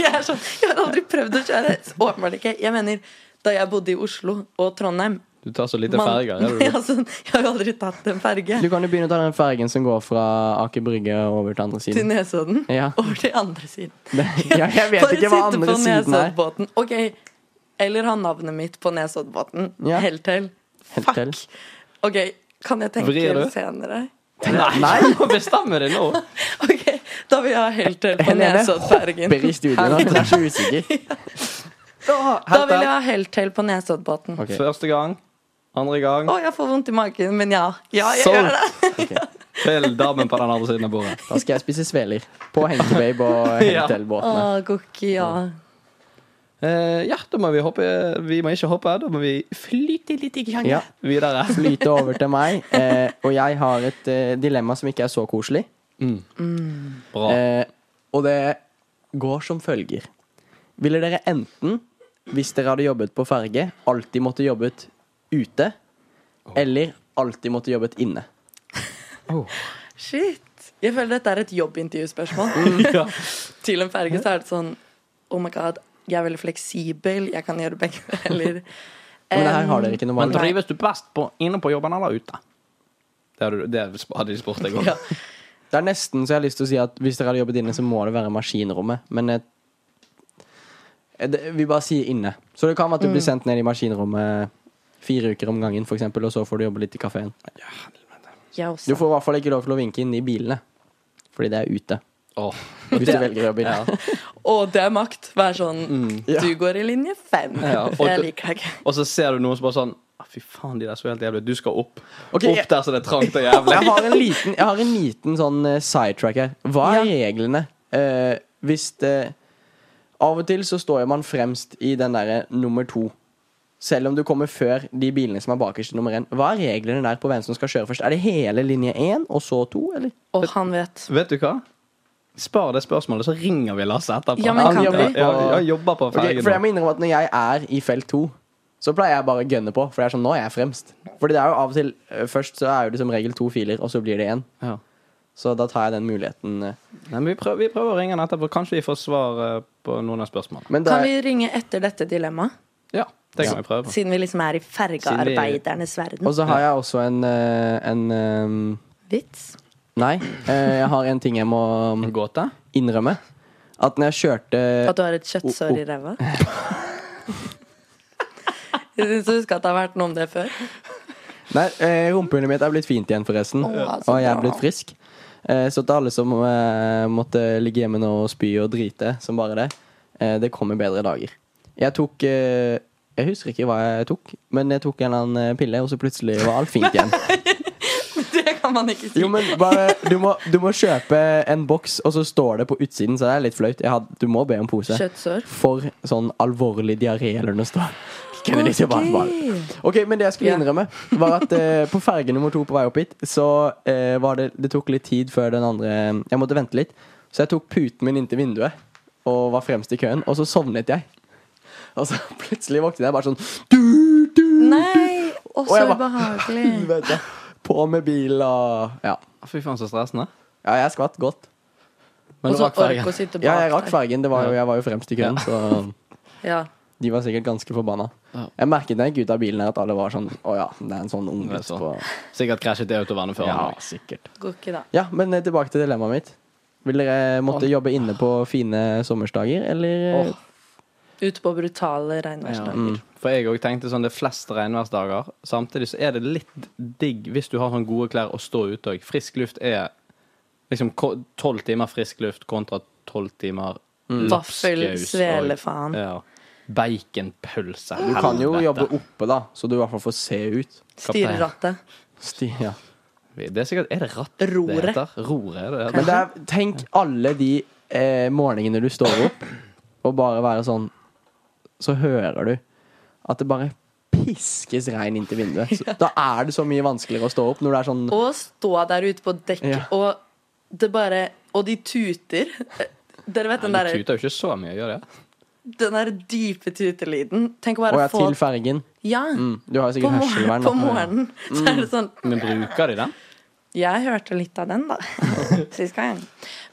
Speaker 2: jeg, er sånn, jeg har aldri prøvd å kjøre. Åpenbart ikke. Jeg mener, da jeg bodde i Oslo og Trondheim,
Speaker 1: Du tar så lite ferger. er du det?
Speaker 2: altså, jeg har jo aldri tatt en ferge
Speaker 3: Du kan jo begynne å ta den fergen som går fra Aker Brygge og over til andre
Speaker 2: til
Speaker 3: siden.
Speaker 2: Nesodden.
Speaker 3: Ja.
Speaker 2: Over til andre siden.
Speaker 3: ja, jeg vet
Speaker 2: For å
Speaker 3: ikke
Speaker 2: sitte
Speaker 3: hva andre
Speaker 2: på
Speaker 3: siden er.
Speaker 2: Nesoddbåten. Ok, eller ha navnet mitt på Nesoddbåten.
Speaker 3: Ja.
Speaker 2: Helt til.
Speaker 3: Helt
Speaker 2: Fuck.
Speaker 3: til.
Speaker 2: Ok, kan jeg
Speaker 1: Vrir
Speaker 2: tenke
Speaker 1: du?
Speaker 2: senere?
Speaker 1: Nei, du må bestemme deg nå!
Speaker 2: Ok, da vil jeg ha helt til på
Speaker 3: Helene
Speaker 2: Nesoddfergen.
Speaker 3: hopper i studioet nå, hun er så usikker.
Speaker 2: Da
Speaker 1: Helt
Speaker 2: vil jeg
Speaker 1: ærlig.
Speaker 2: ha helt til på Nesoddbåten. Å,
Speaker 3: Ok,
Speaker 1: Første gang, andre gang,
Speaker 2: jeg får vondt i magen, men ja. Ja, jeg
Speaker 3: Sånn.
Speaker 1: Solgt.
Speaker 2: gjør det.
Speaker 3: ok.
Speaker 1: til damen på den andre siden av bordet.
Speaker 3: Da skal jeg spise sveler på Henkebabe og
Speaker 1: Ja.
Speaker 2: Å,
Speaker 3: Hentelbåtene.
Speaker 2: Goki, ja.
Speaker 1: Eh, ja, da må vi hoppe Vi må ikke hoppe, da må vi flyte litt i gang
Speaker 3: Ja.
Speaker 1: videre.
Speaker 3: Flyte over til meg. Eh, og jeg har et eh, dilemma som ikke er så koselig.
Speaker 1: Bra.
Speaker 3: Eh, og det går som følger. Ville dere enten, hvis dere hadde jobbet på ferge, alltid måtte jobbet ute, eller alltid måtte jobbet inne?
Speaker 2: Shit. Jeg føler dette er et jobbintervjuspørsmål.
Speaker 3: Mm.
Speaker 1: Ja.
Speaker 2: Til en ferge så er det sånn Oh my god, jeg er veldig fleksibel, jeg kan gjøre begge deler.
Speaker 3: Men det her har dere ikke noe
Speaker 1: Men
Speaker 3: valg.
Speaker 1: trives du best på, inne på jobben eller ute? Det hadde, du- det hadde de spurt deg om.
Speaker 2: Ja.
Speaker 3: Det er nesten så jeg har lyst til å si at hvis dere hadde jobbet inne, så må det være maskinrommet. Men eh, det, vi bare sier inne. Så det kan være at du blir sendt ned i maskinrommet fire uker om gangen, for eksempel, og så får du jobbe litt i kafeen.
Speaker 2: Jeg
Speaker 3: Du
Speaker 2: også.
Speaker 3: får i hvert fall ikke lov til å vinke inne i bilene, fordi det er ute.
Speaker 1: Åh.
Speaker 3: Hvis du velger å jobbe inne.
Speaker 2: Og det er makt. Vær sånn
Speaker 3: Mm. Ja.
Speaker 2: Du går i linje fem.
Speaker 1: Ja, og
Speaker 2: Jeg
Speaker 1: du-
Speaker 2: liker deg ikke.
Speaker 1: Mm. Og så ser du noen som bare sånn «Ah, Fy faen, de der så helt jævlig ut. Du skal opp.
Speaker 3: Ok, jeg-
Speaker 1: opp der så det er trangt og jævlig.
Speaker 3: Jeg har en liten, jeg har en liten sånn eh, sidetrack her. Hva er reglene? Eh, hvis det Av og til så står jo man fremst i den derre nummer to. Selv om du kommer før de bilene som er bakerst i nummer én. Hva er reglene der på hvem som skal kjøre først? Er det hele linje én og så to, eller?
Speaker 2: Og han vet.
Speaker 1: Vet du hva? Spar det spørsmålet, så ringer vi Lasse etterpå.
Speaker 2: Ja, men kan
Speaker 1: Han
Speaker 2: vi?
Speaker 1: jobber- Ja, ja, jobber på
Speaker 3: Ok,
Speaker 1: fergen.
Speaker 3: for jeg
Speaker 1: nå.
Speaker 3: må innrømme at når jeg er i felt to, så pleier jeg bare å gønne på. For jeg er sånn, nå er jeg fremst. Fordi det er jo av og til eh, Først så er jo det som regel to filer, og så blir det én.
Speaker 1: Ja.
Speaker 3: Så da tar jeg den muligheten. eh.
Speaker 1: Nei, men vi, prøver, vi prøver å ringe han etterpå. Kanskje vi får svar eh, på noen av spørsmålene.
Speaker 3: Men det
Speaker 2: Kan
Speaker 3: er,
Speaker 2: vi ringe etter dette dilemmaet?
Speaker 1: Ja, det kan vi
Speaker 3: Ja.
Speaker 1: prøve.
Speaker 2: Siden vi liksom er i
Speaker 1: Siden vi-
Speaker 2: fergearbeidernes verden.
Speaker 3: Og så har jeg også en, eh, en eh,
Speaker 2: Vits.
Speaker 3: Nei, eh, jeg har en ting jeg må
Speaker 1: En gåte?
Speaker 3: innrømme. At når jeg kjørte
Speaker 2: At du har et kjøttsår i ræva? Jeg syns du husker at det har vært noe om det før.
Speaker 3: Nei, eh, rumpehullet mitt er blitt fint igjen, forresten.
Speaker 2: Å, så
Speaker 3: Og jeg er
Speaker 2: bra.
Speaker 3: blitt frisk. Eh, så til alle som eh, måtte ligge hjemme nå og spy og drite som bare det, eh, det kommer bedre dager. Jeg tok eh, Jeg husker ikke hva jeg tok, men jeg tok en eller annen eh, pille, og så plutselig var alt fint igjen.
Speaker 2: Det kan man ikke si.
Speaker 3: Jo, men bare, du, må, du må kjøpe en boks, og så står det på utsiden, så det er litt flaut. Jeg had, du må be om pose.
Speaker 2: Kjøttsår.
Speaker 3: For sånn alvorlig diaré eller noe sånt. Kunne de ikke bare- bare- Ok, Men det jeg skulle
Speaker 2: Ja.
Speaker 3: innrømme, var at eh, på ferge nummer to på vei opp hit, så eh, var det Det tok litt tid før den andre Jeg måtte vente litt. Så jeg tok puten min inntil vinduet og var fremst i køen, og så sovnet jeg. Og så plutselig våknet jeg bare sånn du, du,
Speaker 2: Nei, å,
Speaker 3: Og
Speaker 2: så
Speaker 3: jeg bare-
Speaker 2: ubehagelig.
Speaker 3: vet jeg, På med bil og Ja.
Speaker 1: Fy faen, så stressende.
Speaker 3: Ja, jeg skvatt godt.
Speaker 1: Men
Speaker 2: Og
Speaker 1: du
Speaker 2: så
Speaker 1: rakk fergen.
Speaker 2: ork å sitte bak
Speaker 3: Ja, jeg rakk
Speaker 2: der.
Speaker 3: fergen. Det var jo, jeg var jo fremst i køen, så
Speaker 2: Ja.
Speaker 3: De var sikkert ganske forbanna.
Speaker 1: Ja.
Speaker 3: Jeg merket da jeg gikk ut av bilen her at alle var sånn Å ja, det er en sånn ung
Speaker 1: Det er
Speaker 3: gutt
Speaker 1: så.
Speaker 3: på
Speaker 1: Sikkert krasjet i autovernet før.
Speaker 3: Ja,
Speaker 1: han.
Speaker 3: sikkert.
Speaker 2: Går ikke, da.
Speaker 3: Ja, men eh, tilbake til dilemmaet mitt. Vil dere måtte jobbe inne på fine sommersdager, eller eh,
Speaker 2: Åh. Ut på brutale regnværsdager.
Speaker 1: Mm. For jeg òg tenkte sånn, det er flest regnværsdager. Samtidig så er det litt digg hvis du har sånn gode klær å stå ute òg. Frisk luft er liksom tolv timer frisk luft kontra tolv timer
Speaker 3: Mm.
Speaker 2: Vaffel,
Speaker 1: lapskaus og-
Speaker 2: svelefaen.
Speaker 1: Ja. Baconpølse.
Speaker 3: Du kan jo jobbe oppe, da, så du i hvert fall får se ut.
Speaker 2: Styre rattet.
Speaker 3: Sti, ja.
Speaker 1: Det er sikkert Er det ratt
Speaker 2: Roret.
Speaker 1: det heter? Roret, er det det heter?
Speaker 3: Men det er, tenk alle de eh, morgenene du står opp, og bare være sånn Så hører du at det bare piskes regn inntil vinduet. Så, da er det så mye vanskeligere å stå opp når det er sånn
Speaker 2: Og stå der ute på dekk,
Speaker 3: Ja.
Speaker 2: og det bare Og de tuter. Dere vet den
Speaker 1: Men
Speaker 2: der,
Speaker 1: det tuter jo ikke så mye, gjør det?
Speaker 2: den der dype tutelyden? Tenk å
Speaker 3: Og
Speaker 2: bare
Speaker 3: jeg er
Speaker 2: få
Speaker 3: til fergen.
Speaker 2: Ja.
Speaker 3: Mm, du har jo
Speaker 2: På morgenen,
Speaker 3: sikkert hørselvern.
Speaker 2: på
Speaker 3: da.
Speaker 2: morgenen så er det
Speaker 3: Mm.
Speaker 2: sånn
Speaker 1: Men bruker de den?
Speaker 2: Jeg hørte litt av den, da. Sist gang.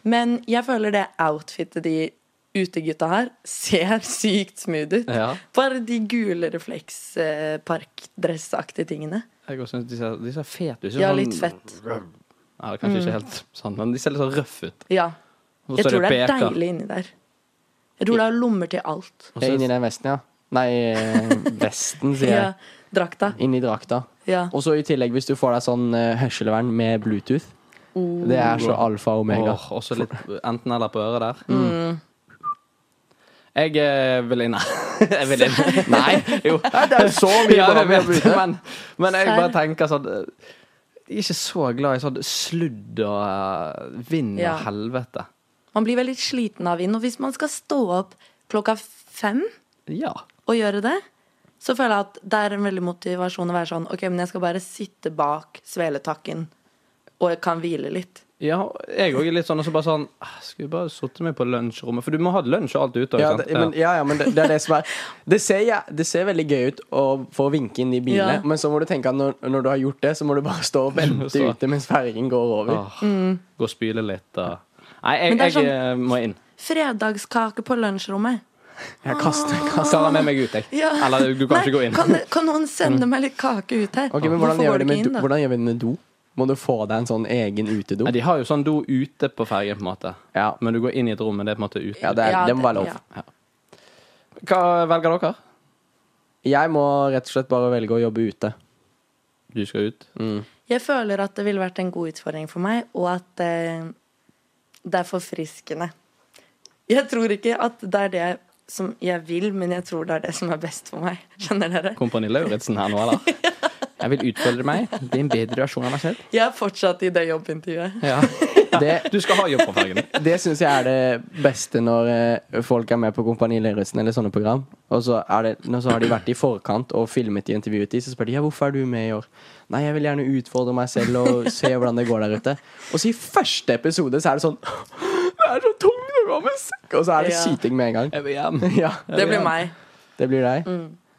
Speaker 2: Men jeg føler det outfitet de utegutta her ser sykt smooth ut.
Speaker 3: Ja.
Speaker 2: Bare de gule refleksparkdressaktige tingene.
Speaker 1: Jeg også synes de ser, de ser fete ut. sånn-
Speaker 2: Ja,
Speaker 3: sånn-
Speaker 2: litt fett.
Speaker 1: Ja, kanskje ikke helt sånn, men de ser litt sånn røffe ut.
Speaker 2: Ja.
Speaker 1: Og så
Speaker 2: Jeg tror det er
Speaker 1: beker.
Speaker 2: deilig inni der. Jeg tror det er lommer til alt.
Speaker 1: Og så-
Speaker 3: Inni den vesten, ja. Nei, eh, vesten, sier
Speaker 2: Ja,
Speaker 3: jeg.
Speaker 2: drakta.
Speaker 3: Inni drakta.
Speaker 2: Ja.
Speaker 3: Og så i tillegg, hvis du får deg sånn eh, hørselvern med Bluetooth Det er så alfa og omega.
Speaker 1: Åh, også litt enten eller på øret der.
Speaker 2: Mm.
Speaker 1: Jeg eh, vil inn Jeg vil inn. Nei, jo.
Speaker 3: det er jo så
Speaker 1: Ja,
Speaker 3: bra
Speaker 1: jeg
Speaker 3: med
Speaker 1: vet,
Speaker 3: Bluetooth.
Speaker 1: men, men jeg bare tenker sånn eh, Jeg er ikke så glad i sånn sludd og eh, vind og
Speaker 2: Ja.
Speaker 1: helvete.
Speaker 2: Man blir veldig sliten av vind. Og hvis man skal stå opp klokka fem
Speaker 1: Ja.
Speaker 2: og gjøre det, så føler jeg at det er en veldig motivasjon å være sånn OK, men jeg skal bare sitte bak sveletakken og jeg kan hvile litt.
Speaker 1: Ja, jeg òg er litt sånn og så bare sånn ah, Skulle bare sittet meg på lunsjrommet. For du må ha lunsj og alt ute.
Speaker 3: Ja,
Speaker 1: ikke sant?
Speaker 3: det, men, ja, ja, men det, det er det som er Det ser, ja, det ser veldig gøy ut å få vinke inn de bilene,
Speaker 2: Ja.
Speaker 3: men så må du tenke at når, når du har gjort det, så må du bare stå og vente
Speaker 1: Stå.
Speaker 3: ute mens fergen går over.
Speaker 1: Åh, Gå og spyle litt og Nei, jeg,
Speaker 2: Men det er
Speaker 1: jeg
Speaker 2: sånn-
Speaker 1: eh, må inn.
Speaker 2: Fredagskake på lunsjrommet.
Speaker 3: Jeg kaster, kaster.
Speaker 1: Sara med meg ut, jeg.
Speaker 2: Ja.
Speaker 1: Eller du kan
Speaker 2: Nei,
Speaker 1: ikke gå inn. Mm.
Speaker 2: Kan, kan noen sende meg litt kake ut her?
Speaker 3: Ok, men hvordan
Speaker 2: Ah. Hvorfor
Speaker 3: gjør,
Speaker 2: går det
Speaker 3: vi med
Speaker 2: ikke
Speaker 3: do,
Speaker 2: inn, da?
Speaker 3: hvordan gjør vi det med do? Må du få deg en sånn egen utedo?
Speaker 1: Nei, de har jo sånn do ute på fergen, på en måte.
Speaker 3: Ja.
Speaker 1: Men du går inn i et rom, men det er på en måte ute.
Speaker 3: Ja, det, er,
Speaker 2: Ja,
Speaker 3: det må
Speaker 2: det-
Speaker 3: være lov.
Speaker 2: ja.
Speaker 1: Hva velger dere?
Speaker 3: Jeg må rett og slett bare velge å jobbe ute. Mm.
Speaker 1: Du skal ut.
Speaker 2: Jeg føler at det ville vært en god utfordring for meg, og at eh, det er forfriskende. Jeg tror ikke at det er det som jeg vil, men jeg tror det er det som er best for meg. Skjønner dere?
Speaker 1: Kompani Lauritzen her nå, eller? Jeg vil utfordre meg. Bli en bedre versjon av meg selv.
Speaker 2: Jeg er fortsatt i det jobbintervjuet.
Speaker 1: Ja.
Speaker 3: Det,
Speaker 1: Du skal ha jobb på fergen.
Speaker 3: det syns jeg er det beste når eh, folk er med på Kompani Lauritzen eller sånne program. Og så, er det, når så har de vært i forkant og filmet de intervjuet de, så spør de ja, hvorfor er du med i år. Nei, jeg vil gjerne utfordre meg selv og se hvordan det går der ute. Og så i første episode så er det sånn Det er så tungt å gå med sekk! Og så er det
Speaker 2: Ja.
Speaker 3: syting med en gang.
Speaker 1: Jeg vil hjem.
Speaker 3: Ja,
Speaker 2: Det blir meg.
Speaker 3: det blir deg.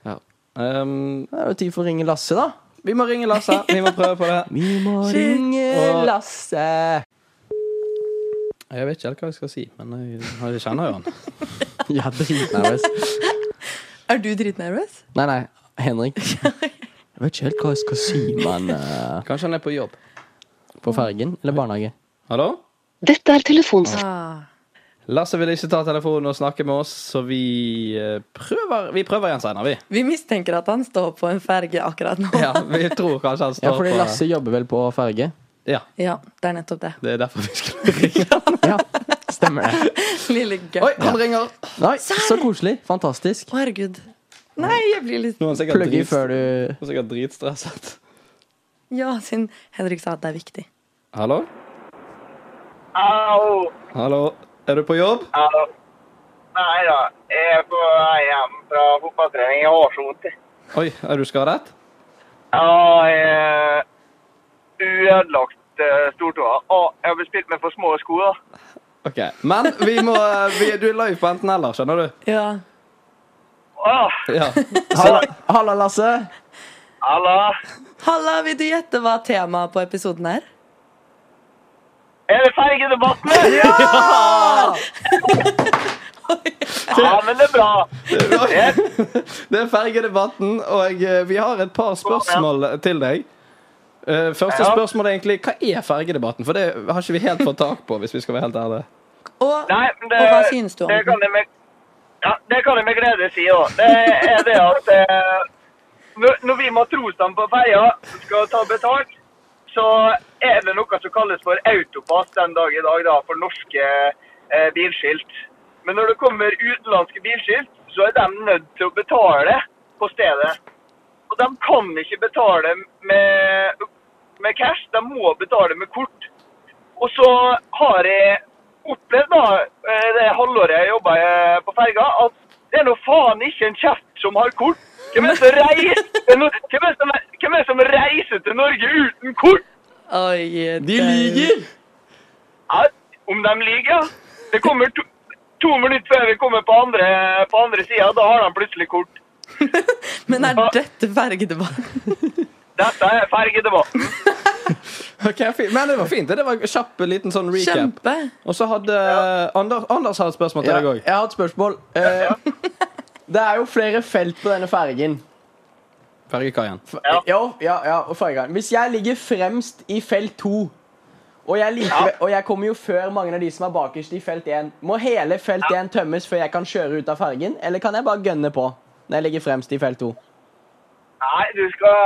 Speaker 1: Ja. Um,
Speaker 3: Det er jo tid for å ringe Lasse, da.
Speaker 1: vi må ringe Lasse. Vi må prøve på det.
Speaker 3: Vi må ringe
Speaker 1: Og-
Speaker 3: Lasse.
Speaker 1: Jeg vet ikke helt hva jeg skal si, men jeg kjenner jo han.
Speaker 3: Jeg er dritnervøs.
Speaker 2: Er du dritnervøs?
Speaker 3: Nei, nei, Henrik. Jeg vet ikke helt hva jeg skal si, men eh,
Speaker 1: Kanskje han er på jobb.
Speaker 3: På fergen eller barnehage?
Speaker 1: Hallo?
Speaker 4: Dette er telefons...
Speaker 2: Ah.
Speaker 1: Lasse vil ikke ta telefonen og snakke med oss, så vi eh, prøver, vi prøver igjen senere, vi.
Speaker 2: Vi mistenker at han står på en ferge akkurat nå.
Speaker 1: Ja, vi tror kanskje han står
Speaker 3: Ja, fordi
Speaker 1: på
Speaker 3: Lasse jobber vel på ferge?
Speaker 1: Ja,
Speaker 2: Ja, det er nettopp det.
Speaker 1: det er derfor vi skulle ringe.
Speaker 3: Ja, stemmer det.
Speaker 2: Lille gøy.
Speaker 1: Oi, han ringer!
Speaker 3: Nei, så koselig. Fantastisk.
Speaker 2: Å, herregud. Nei, jeg blir litt
Speaker 1: Nå er han sikkert,
Speaker 3: Plugg i
Speaker 1: drit,
Speaker 3: før du
Speaker 1: han er sikkert dritstresset.
Speaker 2: Ja, siden Henrik sa at det er viktig.
Speaker 1: Hallo?
Speaker 5: Hallo.
Speaker 1: Hallo? Er du på jobb?
Speaker 5: Hallo. Nei da, jeg er på vei hjem fra fotballtrening. Jeg har så vondt. jeg.
Speaker 1: Oi, er du skadet?
Speaker 5: Ja, eh, jeg er ødelagt eh, stortåa. Å, jeg har bestilt meg for små sko, da.
Speaker 1: Ok, men vi må eh, vi, Du er live på enten eller, skjønner du?
Speaker 2: Ja.
Speaker 5: Åh,
Speaker 1: Ja.
Speaker 3: Halla, halla, Lasse.
Speaker 5: Halla.
Speaker 2: Halla, vil du gjette hva temaet på episoden er?
Speaker 5: Er det fergedebatten? Ja! ja, men det er bra.
Speaker 1: Det er fergedebatten, og eh, vi har et par spørsmål til deg. Eh, Første
Speaker 5: Ja.
Speaker 1: spørsmål er egentlig hva er fergedebatten? For det har ikke vi helt fått tak på, hvis vi skal være helt ærlige.
Speaker 2: Og,
Speaker 5: Nei, men det,
Speaker 2: og hva synes du om
Speaker 5: Eh, det
Speaker 2: den?
Speaker 5: kan jeg med, ja, det kan jeg med glede si òg. Det er det at eh, når- når vi matrosene på ferja skal ta betalt, så er det noe som kalles for autopass den dag i dag da, for norske eh, bilskilt. Men når det kommer utenlandske bilskilt, så er de nødt til å betale på stedet. Og de kan ikke betale med, med cash, de må betale med kort. Og så har jeg opplevd da, eh, det halvåret jeg jobba på ferga, at det er nå faen ikke en kjeft som har kort. Hvem er det som reiser, no- hvem er det som, hvem er det som reiser til Norge uten kort?
Speaker 2: Oi,
Speaker 1: De
Speaker 2: det-
Speaker 1: lyver!
Speaker 5: Ja, om de lyver, ja. Det kommer to, to minutter før vi kommer på andre, på andre sida, da har de plutselig kort.
Speaker 2: Men er dette fergedebatten?
Speaker 5: Dette er fergedebatten.
Speaker 1: Ok, fint. Men det var fint. det. Det var en kjapp liten sånn recap.
Speaker 2: Kjempe.
Speaker 1: Og så hadde eh, Anders, Anders har et spørsmål til
Speaker 3: Ja,
Speaker 1: deg
Speaker 3: jeg
Speaker 1: òg.
Speaker 3: har et spørsmål. Eh, det er jo flere felt på denne fergen.
Speaker 1: Fergekaien.
Speaker 3: F-
Speaker 5: Ja.
Speaker 3: Jo, ja, ja, og fargeren. Hvis jeg ligger fremst i felt 2 og jeg, liker, og jeg kommer jo før mange av de som er bakerst i felt 1. Må hele felt 1 tømmes før jeg kan kjøre ut av fergen, eller kan jeg bare gønne på? Når jeg ligger fremst i felt 2?
Speaker 5: Nei, du skal,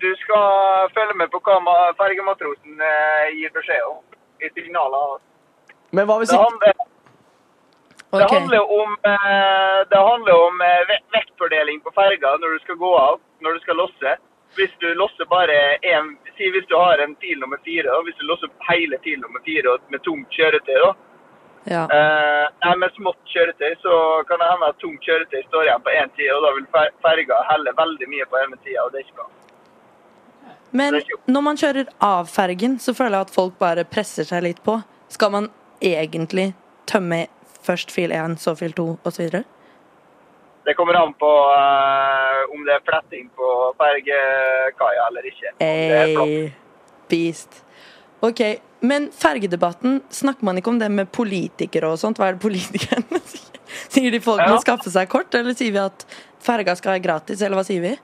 Speaker 5: du skal følge med på hva ma- fergematrosen eh, gir beskjed om i signaler.
Speaker 3: Men hva hvis
Speaker 5: Det
Speaker 3: ikke
Speaker 5: handler, det
Speaker 2: Ok.
Speaker 5: handler om, eh, det handler om eh, ve- vektfordeling på ferga når du skal gå av, når du skal losse. Hvis du losser bare en, si hvis du har en bil nummer fire, da, hvis du losser opp hele bil nummer fire og med tungt kjøretøy, da,
Speaker 2: Ja.
Speaker 5: eh, nei, med smått kjøretøy, så kan det hende at tungt kjøretøy står igjen på én side, og da vil fer- ferga helle veldig mye på ene sida, og det er ikke bra.
Speaker 2: Men når man kjører av fergen, så føler jeg at folk bare presser seg litt på. Skal man egentlig tømme først fil 1, så fil 2 osv.?
Speaker 5: Det kommer an på eh, om det er fletting på fergekaia eller ikke. Om det
Speaker 2: Eh,
Speaker 5: er flott.
Speaker 2: Hey, beast. OK, men fergedebatten, snakker man ikke om det med politikere og sånt? Hva er det politikerne sier? Sier de folk må
Speaker 5: Ja.
Speaker 2: skaffe seg kort, eller sier vi at ferga skal være gratis, eller hva sier vi?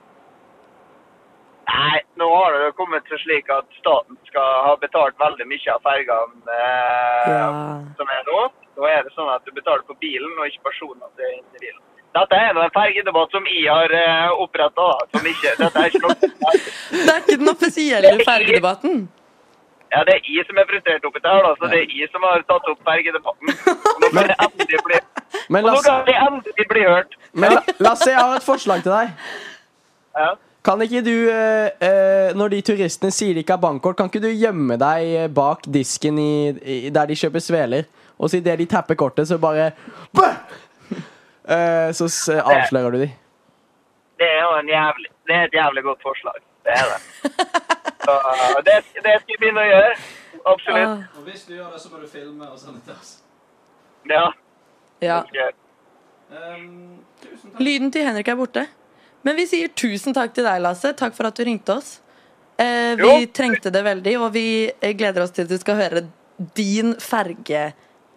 Speaker 5: Nei, nå har det jo kommet til slik at staten skal ha betalt veldig mye av fergene eh,
Speaker 2: Ja.
Speaker 5: som er nå. Nå er det sånn at du betaler for bilen og ikke personene til inni bilen. Dette er en fergedebatt som jeg har uh, oppretta. Dette er ikke noe
Speaker 2: Det er ikke den offisielle fergedebatten.
Speaker 5: Ja, det er jeg som er frustrert oppi der, da. Så det er jeg som har tatt opp fergedebatten. Og nå kan det endelig bli,
Speaker 3: Men,
Speaker 5: og
Speaker 3: la
Speaker 5: nå
Speaker 3: oss,
Speaker 5: kan det endelig bli hørt.
Speaker 3: men la, la oss se, jeg har et forslag til deg.
Speaker 5: Ja.
Speaker 3: Kan ikke du, eh, eh, når de turistene sier de ikke har bankkort, kan ikke du gjemme deg eh, bak disken i, i, der de kjøper sveler? Og så idet de tapper kortet, så bare Bø! Eh, Så s- avslører du de.
Speaker 5: Det er jo en jævlig, det er et jævlig godt forslag. Det er det. Så, det, det skal jeg begynne å gjøre. Absolutt.
Speaker 2: Ah,
Speaker 1: Og hvis du gjør det, så må du filme og sende til oss.
Speaker 5: Ja.
Speaker 2: ja.
Speaker 5: det skal jeg gjøre.
Speaker 1: Ehm, tusen takk.
Speaker 2: Lyden til Henrik er borte. Men vi sier tusen takk til deg, Lasse. Takk for at du ringte oss. Eh, vi
Speaker 5: Jo.
Speaker 2: trengte det veldig, og vi eh, gleder oss til at du skal høre din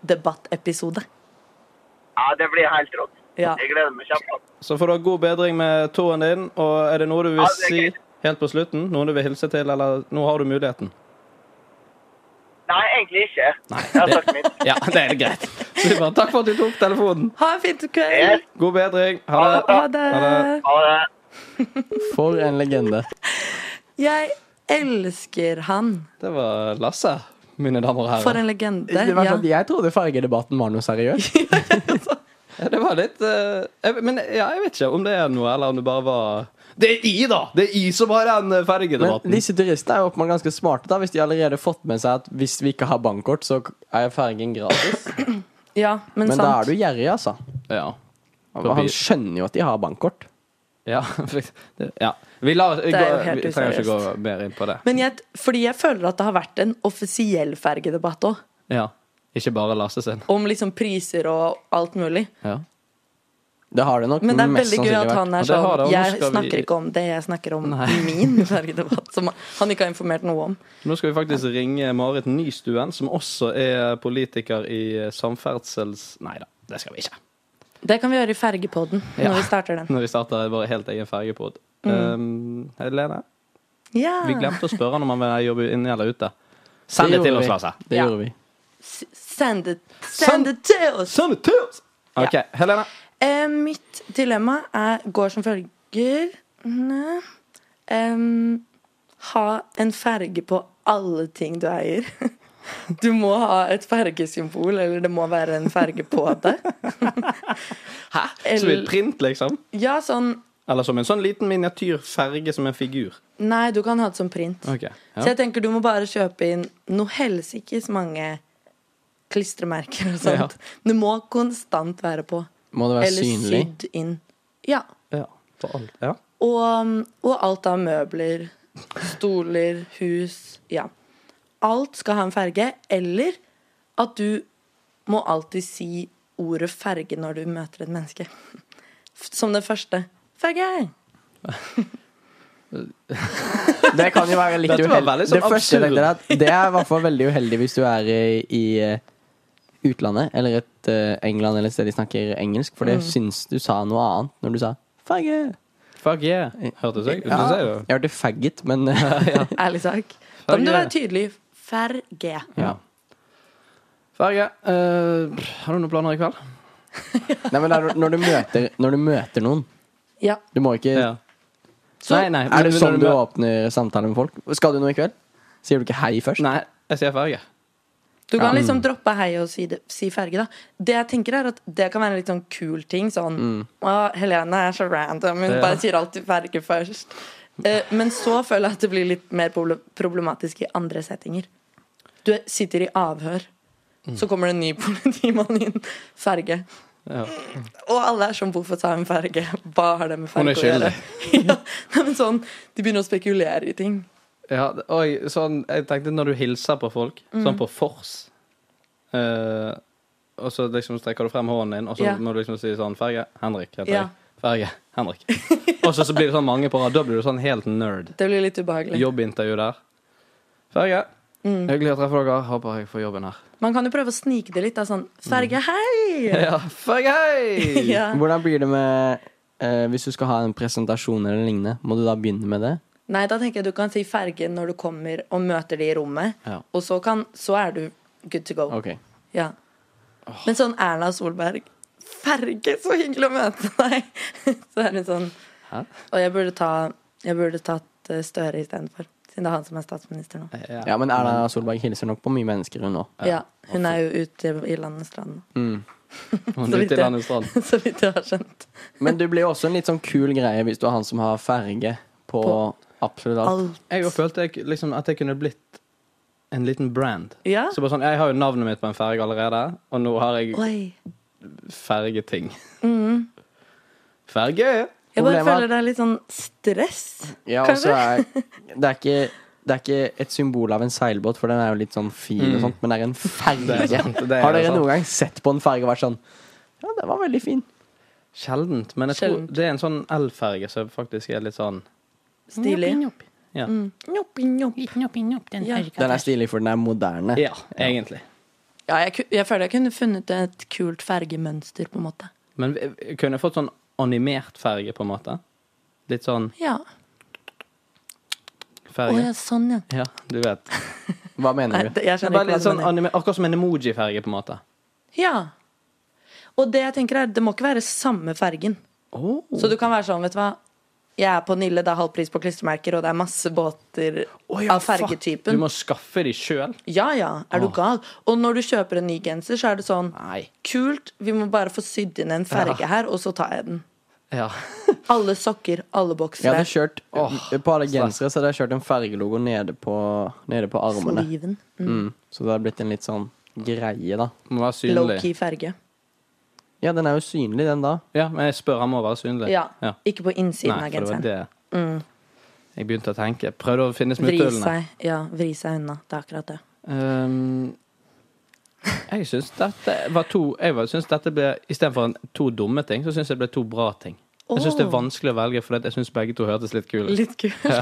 Speaker 2: fergedebattepisode.
Speaker 5: Ja, det blir helt rått.
Speaker 2: Ja.
Speaker 5: Jeg gleder meg kjempe.
Speaker 1: Så får du ha god bedring med tåen din, og er det noe du vil
Speaker 5: Ja, det er
Speaker 1: si
Speaker 5: greit.
Speaker 1: helt på slutten? Noen du vil hilse til, eller nå har du muligheten?
Speaker 5: Nei, egentlig ikke. Jeg har sagt mitt.
Speaker 1: Ja, det er greit. Supert. Takk for at du tok telefonen.
Speaker 2: Ha en fin
Speaker 5: Yes.
Speaker 2: kveld!
Speaker 1: God bedring. Ha det.
Speaker 2: Ha det!
Speaker 1: Ha det.
Speaker 5: Ha det.
Speaker 3: For en legende.
Speaker 2: Jeg elsker han.
Speaker 1: Det var Lasse, mine damer og
Speaker 2: For
Speaker 1: herrer.
Speaker 2: en legende.
Speaker 3: Det var
Speaker 2: Ja.
Speaker 3: sånn, jeg trodde fargedebatten var noe seriøst.
Speaker 1: Ja, Det var litt eh, jeg- Men ja, jeg vet ikke om det er noe, eller om det bare var Det er I, da! Det er I som har den eh,
Speaker 3: Men
Speaker 1: fergedebatten.
Speaker 3: disse turistene er jo åpenbart ganske smarte, da hvis de allerede har fått med seg at hvis vi ikke har bankkort, så er fergen gratis.
Speaker 2: ja, men,
Speaker 3: Men da
Speaker 2: sant.
Speaker 3: er du gjerrig, altså.
Speaker 1: Ja.
Speaker 3: Og Han skjønner jo at de har bankkort.
Speaker 1: Ja, faktisk. Det- ja. Vi, lar,
Speaker 2: er
Speaker 1: gå,
Speaker 2: jo helt
Speaker 1: vi trenger ikke
Speaker 2: useriøst.
Speaker 1: gå mer inn på det.
Speaker 2: Men jeg, fordi jeg føler at det har vært en offisiell fergedebatt òg.
Speaker 1: Ja. Ikke bare Lasse sin.
Speaker 2: Om liksom priser og alt mulig.
Speaker 1: Ja.
Speaker 3: Det har det nok
Speaker 2: Men det er
Speaker 3: mest
Speaker 2: veldig gøy at
Speaker 3: sannsynlig vært.
Speaker 2: han er
Speaker 1: Ja, det har
Speaker 2: sånn
Speaker 1: det, og nå
Speaker 2: Jeg
Speaker 1: skal
Speaker 2: snakker
Speaker 1: vi-
Speaker 2: ikke om det, jeg snakker om
Speaker 1: Nei.
Speaker 2: min fergedebatt. Som han ikke har informert noe om.
Speaker 1: Nå skal vi faktisk ringe Marit Nystuen, som også er politiker i samferdsels... Nei da, det skal vi ikke.
Speaker 2: Det kan vi gjøre i fergepodden
Speaker 1: Ja.
Speaker 2: når vi starter den.
Speaker 1: Når vi starter vår helt egen fergepod. Um, Helene,
Speaker 2: Ja.
Speaker 1: vi glemte å spørre han om han vil jobbe inne eller ute. Send det,
Speaker 3: gjorde
Speaker 1: til
Speaker 3: vi.
Speaker 1: oss, Lasse.
Speaker 3: Det
Speaker 2: Ja.
Speaker 3: gjorde vi.
Speaker 2: S- Send det, send det til oss!
Speaker 1: Send det til oss! OK, Helene.
Speaker 2: Eh, mitt dilemma er, går som følger Nei. Em, Ha en ferge på alle ting du eier. Du må ha et fergesymbol, eller det må være en ferge på det.
Speaker 1: Hæ? Som i print, liksom?
Speaker 2: Ja, sånn
Speaker 1: Eller som en sånn liten miniatyrferge som en figur?
Speaker 2: Nei, du kan ha det som print.
Speaker 1: Ok, ja.
Speaker 2: Så jeg tenker du må bare kjøpe inn noe helsikes mange klistremerker og sånt. Du må konstant være på.
Speaker 3: Må det være
Speaker 2: Eller
Speaker 3: synlig?
Speaker 2: sydd inn. Ja.
Speaker 1: Ja, for alt. Ja.
Speaker 2: Og, um, og alt av møbler, stoler, hus Ja. Alt skal ha en ferge, eller at du må alltid si ordet ferge når du møter et menneske. F- Som det første. Ferge!
Speaker 3: Det kan jo være litt
Speaker 1: Dette var veldig
Speaker 3: uheldig.
Speaker 1: sånn
Speaker 3: Det første jeg
Speaker 1: absurd.
Speaker 3: tenkte er at det er i hvert fall veldig uheldig hvis du er i, i eh, utlandet, eller et eh, England eller et sted de snakker engelsk, for
Speaker 2: Mm.
Speaker 3: det syns du sa noe annet når du sa fagge.
Speaker 1: Fuck yeah. Hørtes jeg ut
Speaker 3: Ja,
Speaker 1: som
Speaker 3: jeg
Speaker 1: det?
Speaker 3: hørte faggot, men
Speaker 2: Ærlig sak. Da må du
Speaker 1: Farge.
Speaker 2: være tydelig. Ferge.
Speaker 3: ja.
Speaker 1: Farge, eh, har du noen planer i kveld?
Speaker 3: Nei, men det er når du møter, når du møter noen
Speaker 2: Ja.
Speaker 3: Du må ikke
Speaker 2: Så-
Speaker 1: nei, nei.
Speaker 3: Er
Speaker 1: men
Speaker 3: det
Speaker 1: når
Speaker 3: sånn du
Speaker 1: mø-
Speaker 3: åpner samtaler med folk? Skal du noe i kveld? Sier du ikke hei først?
Speaker 1: Nei, jeg sier farge.
Speaker 2: Du kan
Speaker 3: Ja.
Speaker 1: Mm.
Speaker 2: liksom droppe hei og si, det- si ferge, da. Det jeg tenker er at det kan være en litt sånn kul ting. Sånn Å, Helene er så random, hun
Speaker 1: Mm. Ja.
Speaker 2: bare sier alltid ferge først. Eh, men så føler jeg at det blir litt mer proble- problematisk i andre settinger. Du er- sitter i avhør,
Speaker 1: Mm.
Speaker 2: så kommer det en ny politimann inn. Ferge.
Speaker 1: Ja.
Speaker 2: Og alle er sånn Hvorfor sa hun ferge? Hva har det med
Speaker 1: Hun er
Speaker 2: ferge å gjøre? ja, nei, men sånn, de begynner å spekulere i ting.
Speaker 1: Ja, og sånn, jeg tenkte når du hilser på folk,
Speaker 2: Mm.
Speaker 1: sånn på fors eh, Og så liksom strekker du frem hånden din, og så
Speaker 2: Ja.
Speaker 1: må du liksom si sånn Ferge, Henrik heter
Speaker 2: Ja.
Speaker 1: jeg. Ferge, Henrik. og så, så blir det sånn mange på rad. Da blir du sånn helt nerd.
Speaker 2: Det blir litt ubehagelig.
Speaker 1: Jobbintervju der. Ferge,
Speaker 2: Mm.
Speaker 1: hyggelig å treffe dere. Håper jeg får jobben her.
Speaker 2: Man kan jo prøve å snike det litt. Da, sånn Ferge, hei!
Speaker 1: Ja, Ferge, hei!
Speaker 2: ja.
Speaker 3: Hvordan blir det med eh, Hvis du skal ha en presentasjon eller lignende, må du da begynne med det?
Speaker 2: Nei, da tenker jeg du kan si ferge når du kommer og møter de i rommet.
Speaker 3: Ja.
Speaker 2: Og så, kan, så er du good to go.
Speaker 3: Ok.
Speaker 2: Ja. Men sånn Erna Solberg Ferge, så hyggelig å møte deg! så er hun sånn
Speaker 1: Hæ?
Speaker 2: Og jeg burde, ta, jeg burde tatt eh, Støre istedenfor. Siden det er han som er statsminister nå.
Speaker 3: Ja, men Erna Solberg hilser nok på mye mennesker, hun nå.
Speaker 2: Ja, Hun er jo ute i landets land. nå.
Speaker 1: Hun
Speaker 2: Så
Speaker 1: er
Speaker 2: vidt
Speaker 1: ute i
Speaker 2: jeg-
Speaker 1: landets strand.
Speaker 2: så vidt jeg har skjønt.
Speaker 3: Men du blir jo også en litt sånn kul greie hvis du er han som har ferge på,
Speaker 2: På
Speaker 3: absolutt alt.
Speaker 2: Alt.
Speaker 1: Jeg jo følte jeg, liksom, at jeg kunne blitt en liten brand.
Speaker 2: Ja.
Speaker 1: Så bare sånn, Jeg har jo navnet mitt på en ferge allerede, og nå har jeg
Speaker 2: Oi.
Speaker 1: fergeting.
Speaker 2: Mm.
Speaker 1: Ferge?
Speaker 2: Jeg bare
Speaker 3: Problemet er-
Speaker 2: føler det er litt sånn stress.
Speaker 3: Ja, og så er det er ikke det er ikke et symbol av en seilbåt, for den er jo litt sånn fin, og sånt, men det er en
Speaker 1: Mm.
Speaker 3: ferge.
Speaker 1: Det er sant, det er
Speaker 3: Har dere
Speaker 1: sant.
Speaker 3: noen gang sett på en ferge og vært sånn Ja, den var veldig fin.
Speaker 1: Sjeldent. Men jeg tror
Speaker 2: Sjeldent.
Speaker 1: det er en sånn elferge som faktisk er litt sånn
Speaker 2: Stilig.
Speaker 1: Ja,
Speaker 2: Mm. Njopp, njopp.
Speaker 6: Liten opp, inn opp, den
Speaker 2: Ja.
Speaker 6: ferga
Speaker 3: Den
Speaker 6: der.
Speaker 3: er stilig, for den er moderne.
Speaker 1: ja egentlig.
Speaker 2: Ja, jeg, ku- jeg føler jeg kunne funnet et kult fergemønster, på en måte.
Speaker 1: Men vi- kunne jeg fått sånn animert ferge, på en måte? Litt sånn
Speaker 2: Ja. Å ja,
Speaker 1: ferge.
Speaker 2: sånn, ja.
Speaker 1: Ja, du vet.
Speaker 3: Hva
Speaker 2: Nei,
Speaker 3: mener du?
Speaker 2: det- jeg skjønner
Speaker 1: Bare
Speaker 2: ikke hva
Speaker 1: litt
Speaker 2: du
Speaker 1: sånn
Speaker 2: mener.
Speaker 1: anime, akkurat som en emoji-ferge, på en måte.
Speaker 2: Ja. Og det jeg tenker er, det må ikke være samme fergen.
Speaker 1: Oh.
Speaker 2: Så du kan være sånn, vet du hva. Jeg er på Nille, det er halv pris på klistremerker, og det er masse båter av
Speaker 1: Du
Speaker 2: fergetypen.
Speaker 1: må skaffe de sjøl.
Speaker 2: Ja ja, er du gal? Og når du kjøper en ny genser, så er det sånn
Speaker 1: Nei.
Speaker 2: Kult, vi må bare få sydd inn en ferge her, og så tar jeg den.
Speaker 1: Ja.
Speaker 2: Alle sokker, alle boksere.
Speaker 3: Jeg hadde kjørt
Speaker 1: Åh,
Speaker 3: På alle gensere så hadde jeg kjørt en fergelogo nede på, nede på armene.
Speaker 2: Sleeven.
Speaker 3: Mm. Så det hadde blitt en litt sånn greie, da.
Speaker 1: Må være synlig.
Speaker 2: Low-key ferge.
Speaker 3: Ja, den er jo synlig, den da.
Speaker 1: Ja, men jeg spør, han må være synlig.
Speaker 2: Ja.
Speaker 1: Ja.
Speaker 2: Ikke på innsiden
Speaker 1: Nei, for
Speaker 2: av
Speaker 1: det var
Speaker 2: genseren. Mm.
Speaker 1: det. Jeg begynte å tenke. Prøvde å finne
Speaker 2: Vri
Speaker 1: smutthullene.
Speaker 2: seg, ja, vri seg unna. Det er akkurat det.
Speaker 1: Ehm, jeg syns dette var to Jeg var- syns dette ble Istedenfor en- to dumme ting, så syns jeg det ble to bra ting. Jeg syns det er
Speaker 2: Åh.
Speaker 1: vanskelig å velge, for jeg syns begge to hørtes litt kule ut.
Speaker 2: Litt kult.
Speaker 1: Ja.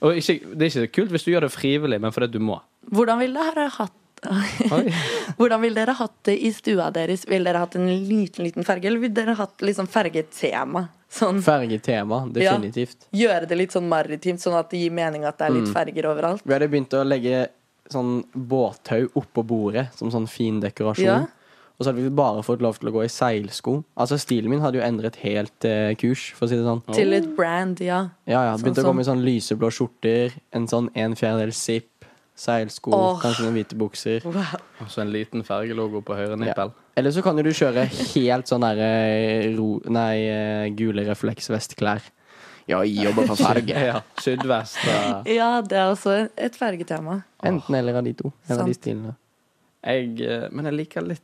Speaker 1: Og ikke, det er ikke så kult hvis du gjør det frivillig, men fordi du må.
Speaker 2: Hvordan vil dere hatt
Speaker 1: Oi.
Speaker 2: Hvordan vil dere hatt det i stua deres? Vil dere hatt en liten, liten ferge, eller vil dere hatt liksom fergetema? Sånn,
Speaker 3: Fergetema, definitivt.
Speaker 2: gjøre det litt sånn maritimt, sånn at det gir mening at det er litt
Speaker 1: Mm.
Speaker 2: ferger overalt.
Speaker 3: Vi hadde begynt å legge sånn båttau oppå bordet som sånn fin dekorasjon.
Speaker 2: Ja.
Speaker 3: Og så hadde vi bare fått lov til å gå i seilsko. Altså Stilen min hadde jo endret helt eh, kurs, for å si det sånn.
Speaker 2: Til et
Speaker 1: Oh.
Speaker 2: brand, ja.
Speaker 3: Ja, ja,
Speaker 2: Sånn
Speaker 3: Begynte å
Speaker 2: som-
Speaker 3: komme i sånn lyseblå skjorter, en sånn en fjerdedel zipp, seilsko,
Speaker 2: Åh.
Speaker 3: kanskje noen hvite bukser.
Speaker 2: Wow.
Speaker 1: Og så Altså en liten fergelogo på høyre nippel.
Speaker 3: Eller så kan jo du kjøre helt sånn derre ro... Nei, eh, gule refleksvestklær. Ja, jeg jobber for farge.
Speaker 1: Ja. Sydvest. eh, og-
Speaker 2: Ja, det er også et fergetema.
Speaker 3: Enten eller av de to. Eller av de
Speaker 2: Sant.
Speaker 3: stilene.
Speaker 1: Jeg, eh, men jeg liker litt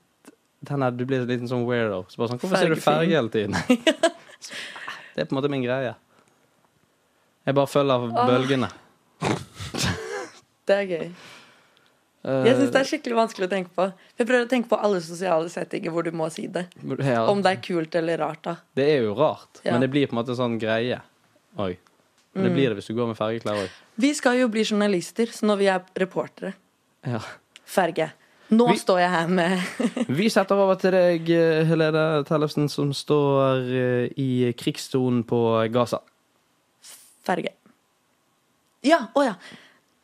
Speaker 1: den her Du blir en liten sånn weirdo. Så bare sånn, Hvorfor ser du
Speaker 2: Fergefin.
Speaker 1: ferge hele tiden? Det er på en måte min greie. Jeg bare følger bølgene.
Speaker 2: Det er gøy. Jeg syns det er skikkelig vanskelig å tenke på. Jeg prøver å tenke på alle sosiale settinger hvor du må si det.
Speaker 1: Eh, Ja.
Speaker 2: Om det er kult eller rart, da.
Speaker 1: Det er jo rart,
Speaker 2: Ja. Mm.
Speaker 1: men det blir på en måte en sånn greie. Oi. Det blir det hvis du går med fargeklær òg.
Speaker 2: Vi skal jo bli journalister, så når vi er reportere
Speaker 3: Ja.
Speaker 2: Ferge. Nå
Speaker 1: Vi-
Speaker 2: står jeg her med
Speaker 1: Vi setter over til deg, eh, Helene Tellefsen, som står eh, i krigssonen på Gaza.
Speaker 2: ferge. Ja, å ja.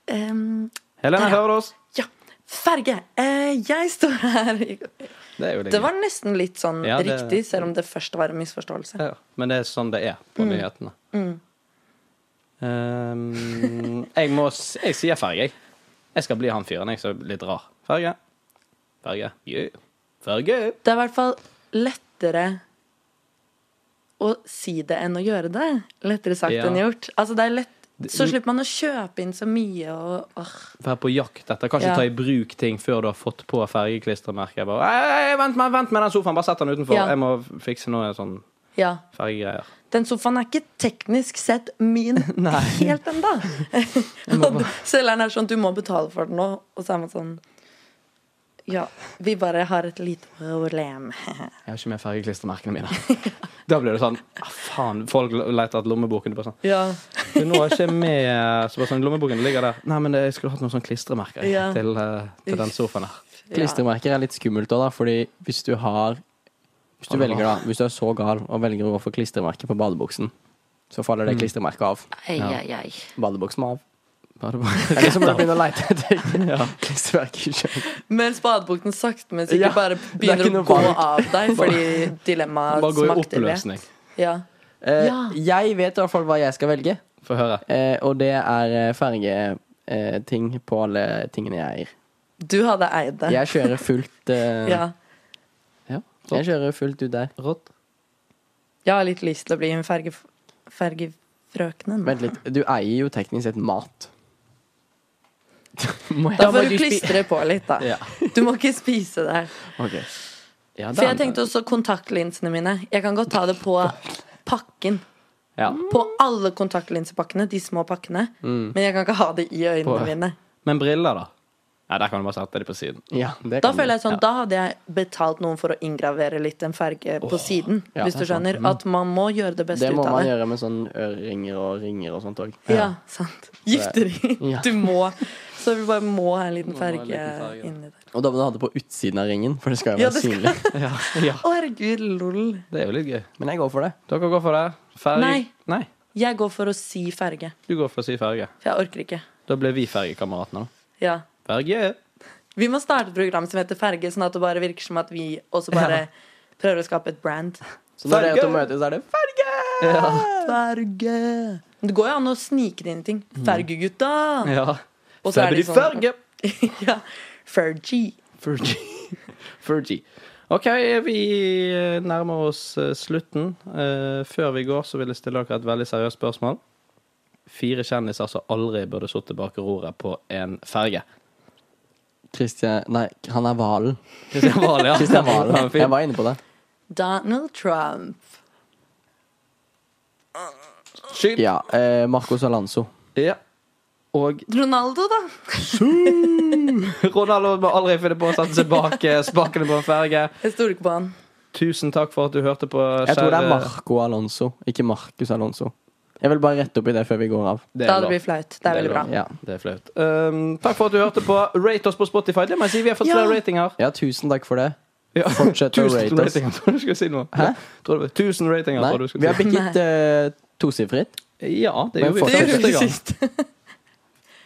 Speaker 2: Em,
Speaker 1: Helene,
Speaker 2: Der, ja.
Speaker 1: hører du oss?
Speaker 2: ja. Ferge. Eh, jeg står her
Speaker 1: Det er jo
Speaker 2: Det var nesten litt sånn
Speaker 1: Ja, det-
Speaker 2: riktig, selv om det først var en misforståelse.
Speaker 1: Ja, men det er sånn det er
Speaker 2: Mm.
Speaker 1: på nyhetene. Um, jeg må s- Jeg sier ferge, jeg. Jeg skal bli han fyren jeg som er litt rar. Ferge. Ferge. Yeah. Ferge.
Speaker 2: Det er i hvert fall lettere å si det enn å gjøre det. Lettere sagt
Speaker 1: Ja.
Speaker 2: enn gjort. Altså, det er lett så slipper man å kjøpe inn så mye og åh.
Speaker 1: Vær på jakt etter. Kanskje
Speaker 2: Ja.
Speaker 1: ta i bruk ting før du har fått på fergeklistremerket. Jeg bare, «Ei, ei, Vent, med- vent med den sofaen, bare sett den utenfor.
Speaker 2: Ja.
Speaker 1: Jeg må fikse noe sånn
Speaker 2: Ja.
Speaker 1: fergegreier.
Speaker 2: Den sofaen er ikke teknisk sett min
Speaker 1: Nei.
Speaker 2: helt ennå. Og selgeren er sånn Du må betale for den nå. Og så er man sånn Ja, vi bare har et lite problem.
Speaker 1: Jeg har ikke med fergeklistremerkene mine. da blir det sånn ah, Faen, folk leter etter lommeboken. Du bare sånn
Speaker 2: Ja.
Speaker 1: Du nå er ikke med så bare sånn, Lommeboken ligger der. Nei, men jeg skulle hatt noen sånn klistremerker jeg,
Speaker 2: Ja.
Speaker 1: til, eh, til den sofaen her.
Speaker 3: Klistremerker er litt skummelt òg, da, fordi hvis du har Hvis du
Speaker 1: Har du
Speaker 3: velger da Hvis du er så gal og velger å gå for klistremerke på badebuksen, så faller det klistremerket av.
Speaker 2: Ei, ei, ei.
Speaker 3: Mm. Badebuksen må av.
Speaker 1: Badebuksen.
Speaker 3: Eller så må du begynne å leite etter klistremerker sjøl.
Speaker 2: Mens badebukten sakte, men sikkert
Speaker 3: Ja,
Speaker 2: bare
Speaker 3: det er
Speaker 2: begynner
Speaker 3: ikke
Speaker 2: å gå
Speaker 3: noe varmt.
Speaker 2: av deg fordi dilemmaet
Speaker 1: Bare gå i
Speaker 2: smakte
Speaker 1: oppløsning.
Speaker 2: lett. Ja.
Speaker 3: Eh,
Speaker 2: Ja.
Speaker 3: Jeg vet i hvert fall hva jeg skal velge,
Speaker 1: Få høre.
Speaker 3: eh, og det er fergeting på alle tingene jeg eier.
Speaker 2: Du hadde eid det.
Speaker 3: Jeg kjører fullt eh,
Speaker 2: Ja.
Speaker 3: ja, Jeg kjører fullt ut der.
Speaker 1: Rått.
Speaker 2: Jeg har litt lyst til å bli en ferge, fergefrøknen.
Speaker 3: Vent litt, du eier jo teknisk sett mat. Må jeg
Speaker 2: Da
Speaker 1: må
Speaker 2: får du
Speaker 1: de spi-
Speaker 2: klistre på litt, da.
Speaker 1: Ja.
Speaker 2: Du må ikke spise det her.
Speaker 3: Ok.
Speaker 1: Ja,
Speaker 2: For jeg
Speaker 1: den-
Speaker 2: tenkte også kontaktlinsene mine. Jeg kan godt ta det på pakken.
Speaker 1: ja.
Speaker 2: På alle kontaktlinsepakkene, de små pakkene.
Speaker 3: Mm.
Speaker 2: Men jeg kan ikke ha det i øynene
Speaker 1: På-
Speaker 2: mine.
Speaker 1: Men briller, da? Ja, Der kan du bare sette dem på siden.
Speaker 3: Ja, det
Speaker 2: Da
Speaker 3: kan
Speaker 2: føler
Speaker 3: du.
Speaker 2: jeg sånn, da hadde jeg betalt noen for å inngravere litt en ferge på siden.
Speaker 3: ja,
Speaker 2: hvis du
Speaker 3: det er sant. Mm.
Speaker 2: skjønner. At man må gjøre det beste
Speaker 3: Det
Speaker 2: ut
Speaker 3: må
Speaker 2: av
Speaker 3: man
Speaker 2: det.
Speaker 3: gjøre med sånn øreringer og ringer og sånt òg.
Speaker 2: Ja, sant. Gifteri.
Speaker 3: Ja.
Speaker 2: Du må. Så vi bare må ha en liten
Speaker 1: Må ha en
Speaker 2: ferge
Speaker 1: liten ferge.
Speaker 2: inni der.
Speaker 3: Og da må du ha det på utsiden av ringen, for det skal jo
Speaker 2: Ja,
Speaker 3: være
Speaker 2: det skal-
Speaker 3: synlig.
Speaker 2: Å, herregud, lol.
Speaker 1: Det er jo litt gøy.
Speaker 3: Men jeg går for det.
Speaker 1: Dere går for det? Ferge?
Speaker 2: Nei.
Speaker 1: Nei.
Speaker 2: Jeg går for å si ferge.
Speaker 1: Du går for å si ferge.
Speaker 2: For jeg orker ikke.
Speaker 1: Da ble vi fergekameratene, da.
Speaker 2: Ja.
Speaker 1: Ferge.
Speaker 2: Vi må starte et program som heter Ferge, sånn at det bare virker som at vi også bare prøver å skape et brand.
Speaker 3: Så når dere
Speaker 1: Farge!
Speaker 3: to møtes, er det farge!
Speaker 2: Ferge. Men Det går jo an å snike det inn i ting. Fergegutta!
Speaker 1: Ja.
Speaker 2: Og så er
Speaker 1: blir
Speaker 2: de sånn-
Speaker 1: ferge.
Speaker 2: ja. Fergie.
Speaker 1: Fergie. Fergie. OK, vi eh, nærmer oss eh, slutten. Eh, Før vi går, så vil jeg stille dere et veldig seriøst spørsmål. Fire kjendiser som aldri burde sittet bak roret på en ferge.
Speaker 3: Christian Nei, han er hvalen.
Speaker 1: Kristian Wahl, ja.
Speaker 3: Christian Valen.
Speaker 1: Han er fin.
Speaker 3: Jeg var inne på det.
Speaker 2: Donald Trump.
Speaker 1: Skyld.
Speaker 3: Ja. Eh, Marcos Alonso.
Speaker 1: Ja. Og
Speaker 2: Ronaldo, da.
Speaker 1: Ronaldo må aldri finne på å sette seg bak eh, spakene på en ferge.
Speaker 2: Jeg stoler ikke på han.
Speaker 1: Tusen takk for at du hørte på.
Speaker 3: Jeg tror det er
Speaker 1: kjære-
Speaker 3: Marco Alonso, ikke Marcus Alonso. Jeg vil bare rette opp i det før vi går av.
Speaker 1: Det er
Speaker 2: Da det
Speaker 1: lov.
Speaker 2: blir flaut. Det er veldig bra.
Speaker 1: lov.
Speaker 3: Ja.
Speaker 1: Det er flaut. Um, takk for at du hørte på. Rate oss på Spotify. Det må jeg si, Vi har fått
Speaker 2: Ja.
Speaker 1: flere ratinger.
Speaker 3: ja, tusen takk for det.
Speaker 1: Ja.
Speaker 3: Fortsett å
Speaker 1: Tusen
Speaker 3: rate oss.
Speaker 1: ratinger, tror du skulle si noe.
Speaker 3: Hæ?
Speaker 1: Tror du, tusen ratinger,
Speaker 3: Nei,
Speaker 1: tror du
Speaker 3: vi
Speaker 1: skulle
Speaker 3: har
Speaker 1: si.
Speaker 3: bikket eh, tosifret.
Speaker 1: Ja, det gjorde vi
Speaker 3: Men
Speaker 2: Det
Speaker 3: fortsatt-
Speaker 1: første
Speaker 2: gjorde vi
Speaker 1: gang.
Speaker 2: sist.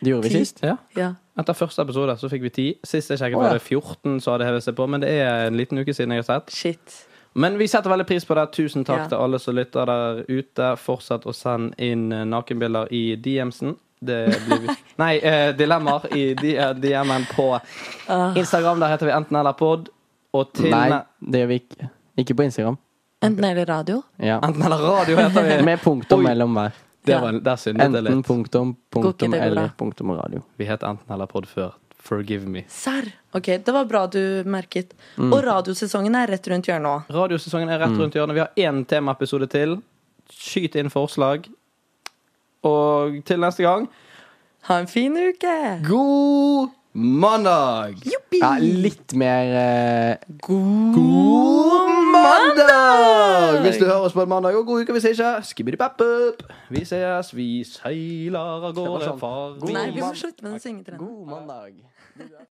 Speaker 3: Det gjorde vi
Speaker 2: Ti.
Speaker 3: sist.
Speaker 1: Ja.
Speaker 2: Ja.
Speaker 1: Etter første episode så fikk vi 10. Sist jeg sjekket,
Speaker 3: Å,
Speaker 1: var
Speaker 3: ja.
Speaker 1: det 14 som hadde hevet seg på. Men det er en liten uke siden jeg har sett.
Speaker 2: Shit.
Speaker 1: Men vi setter veldig pris på det. Tusen takk
Speaker 2: Ja.
Speaker 1: til alle som lytter der ute. Fortsett å sende inn eh, nakenbilder i DM-en. Det blir vi. Nei, eh, dilemmaer i D- eh, DM-en på Instagram. Der heter vi enten eller pod. Og til
Speaker 3: Nei, det gjør vi ikke. Ikke på Instagram.
Speaker 2: Enten eller radio.
Speaker 3: Ja.
Speaker 1: Enten eller radio heter vi.
Speaker 3: Med punktum
Speaker 1: Oi.
Speaker 3: mellom hver.
Speaker 1: Det var, der syndet jeg
Speaker 3: Enten
Speaker 1: litt.
Speaker 3: punktum,
Speaker 2: Går
Speaker 3: punktum
Speaker 2: ikke det bra?
Speaker 3: eller punktum og radio.
Speaker 1: Vi het enten eller pod før. Forgive me.
Speaker 2: Serr. Ok, det var bra du merket. Og radiosesongen er rett rundt hjørnet òg.
Speaker 1: Radiosesongen er rett rundt hjørnet. Vi har én temaepisode til. Skyt inn forslag. Og til neste gang
Speaker 2: Ha en fin uke!
Speaker 1: God mandag!
Speaker 2: Juppi!
Speaker 3: Ja, litt mer eh,
Speaker 2: God
Speaker 1: God mandag! hvis du hører oss på en mandag, og god uke hvis ikke. Skibidi-bap-bup. Vi sees, vi seiler av
Speaker 3: Det var
Speaker 1: gårde,
Speaker 3: sånn.
Speaker 1: far.
Speaker 3: God
Speaker 2: Nei, vi må
Speaker 3: mann-
Speaker 2: slutte med den syngetrenden.
Speaker 3: God mandag.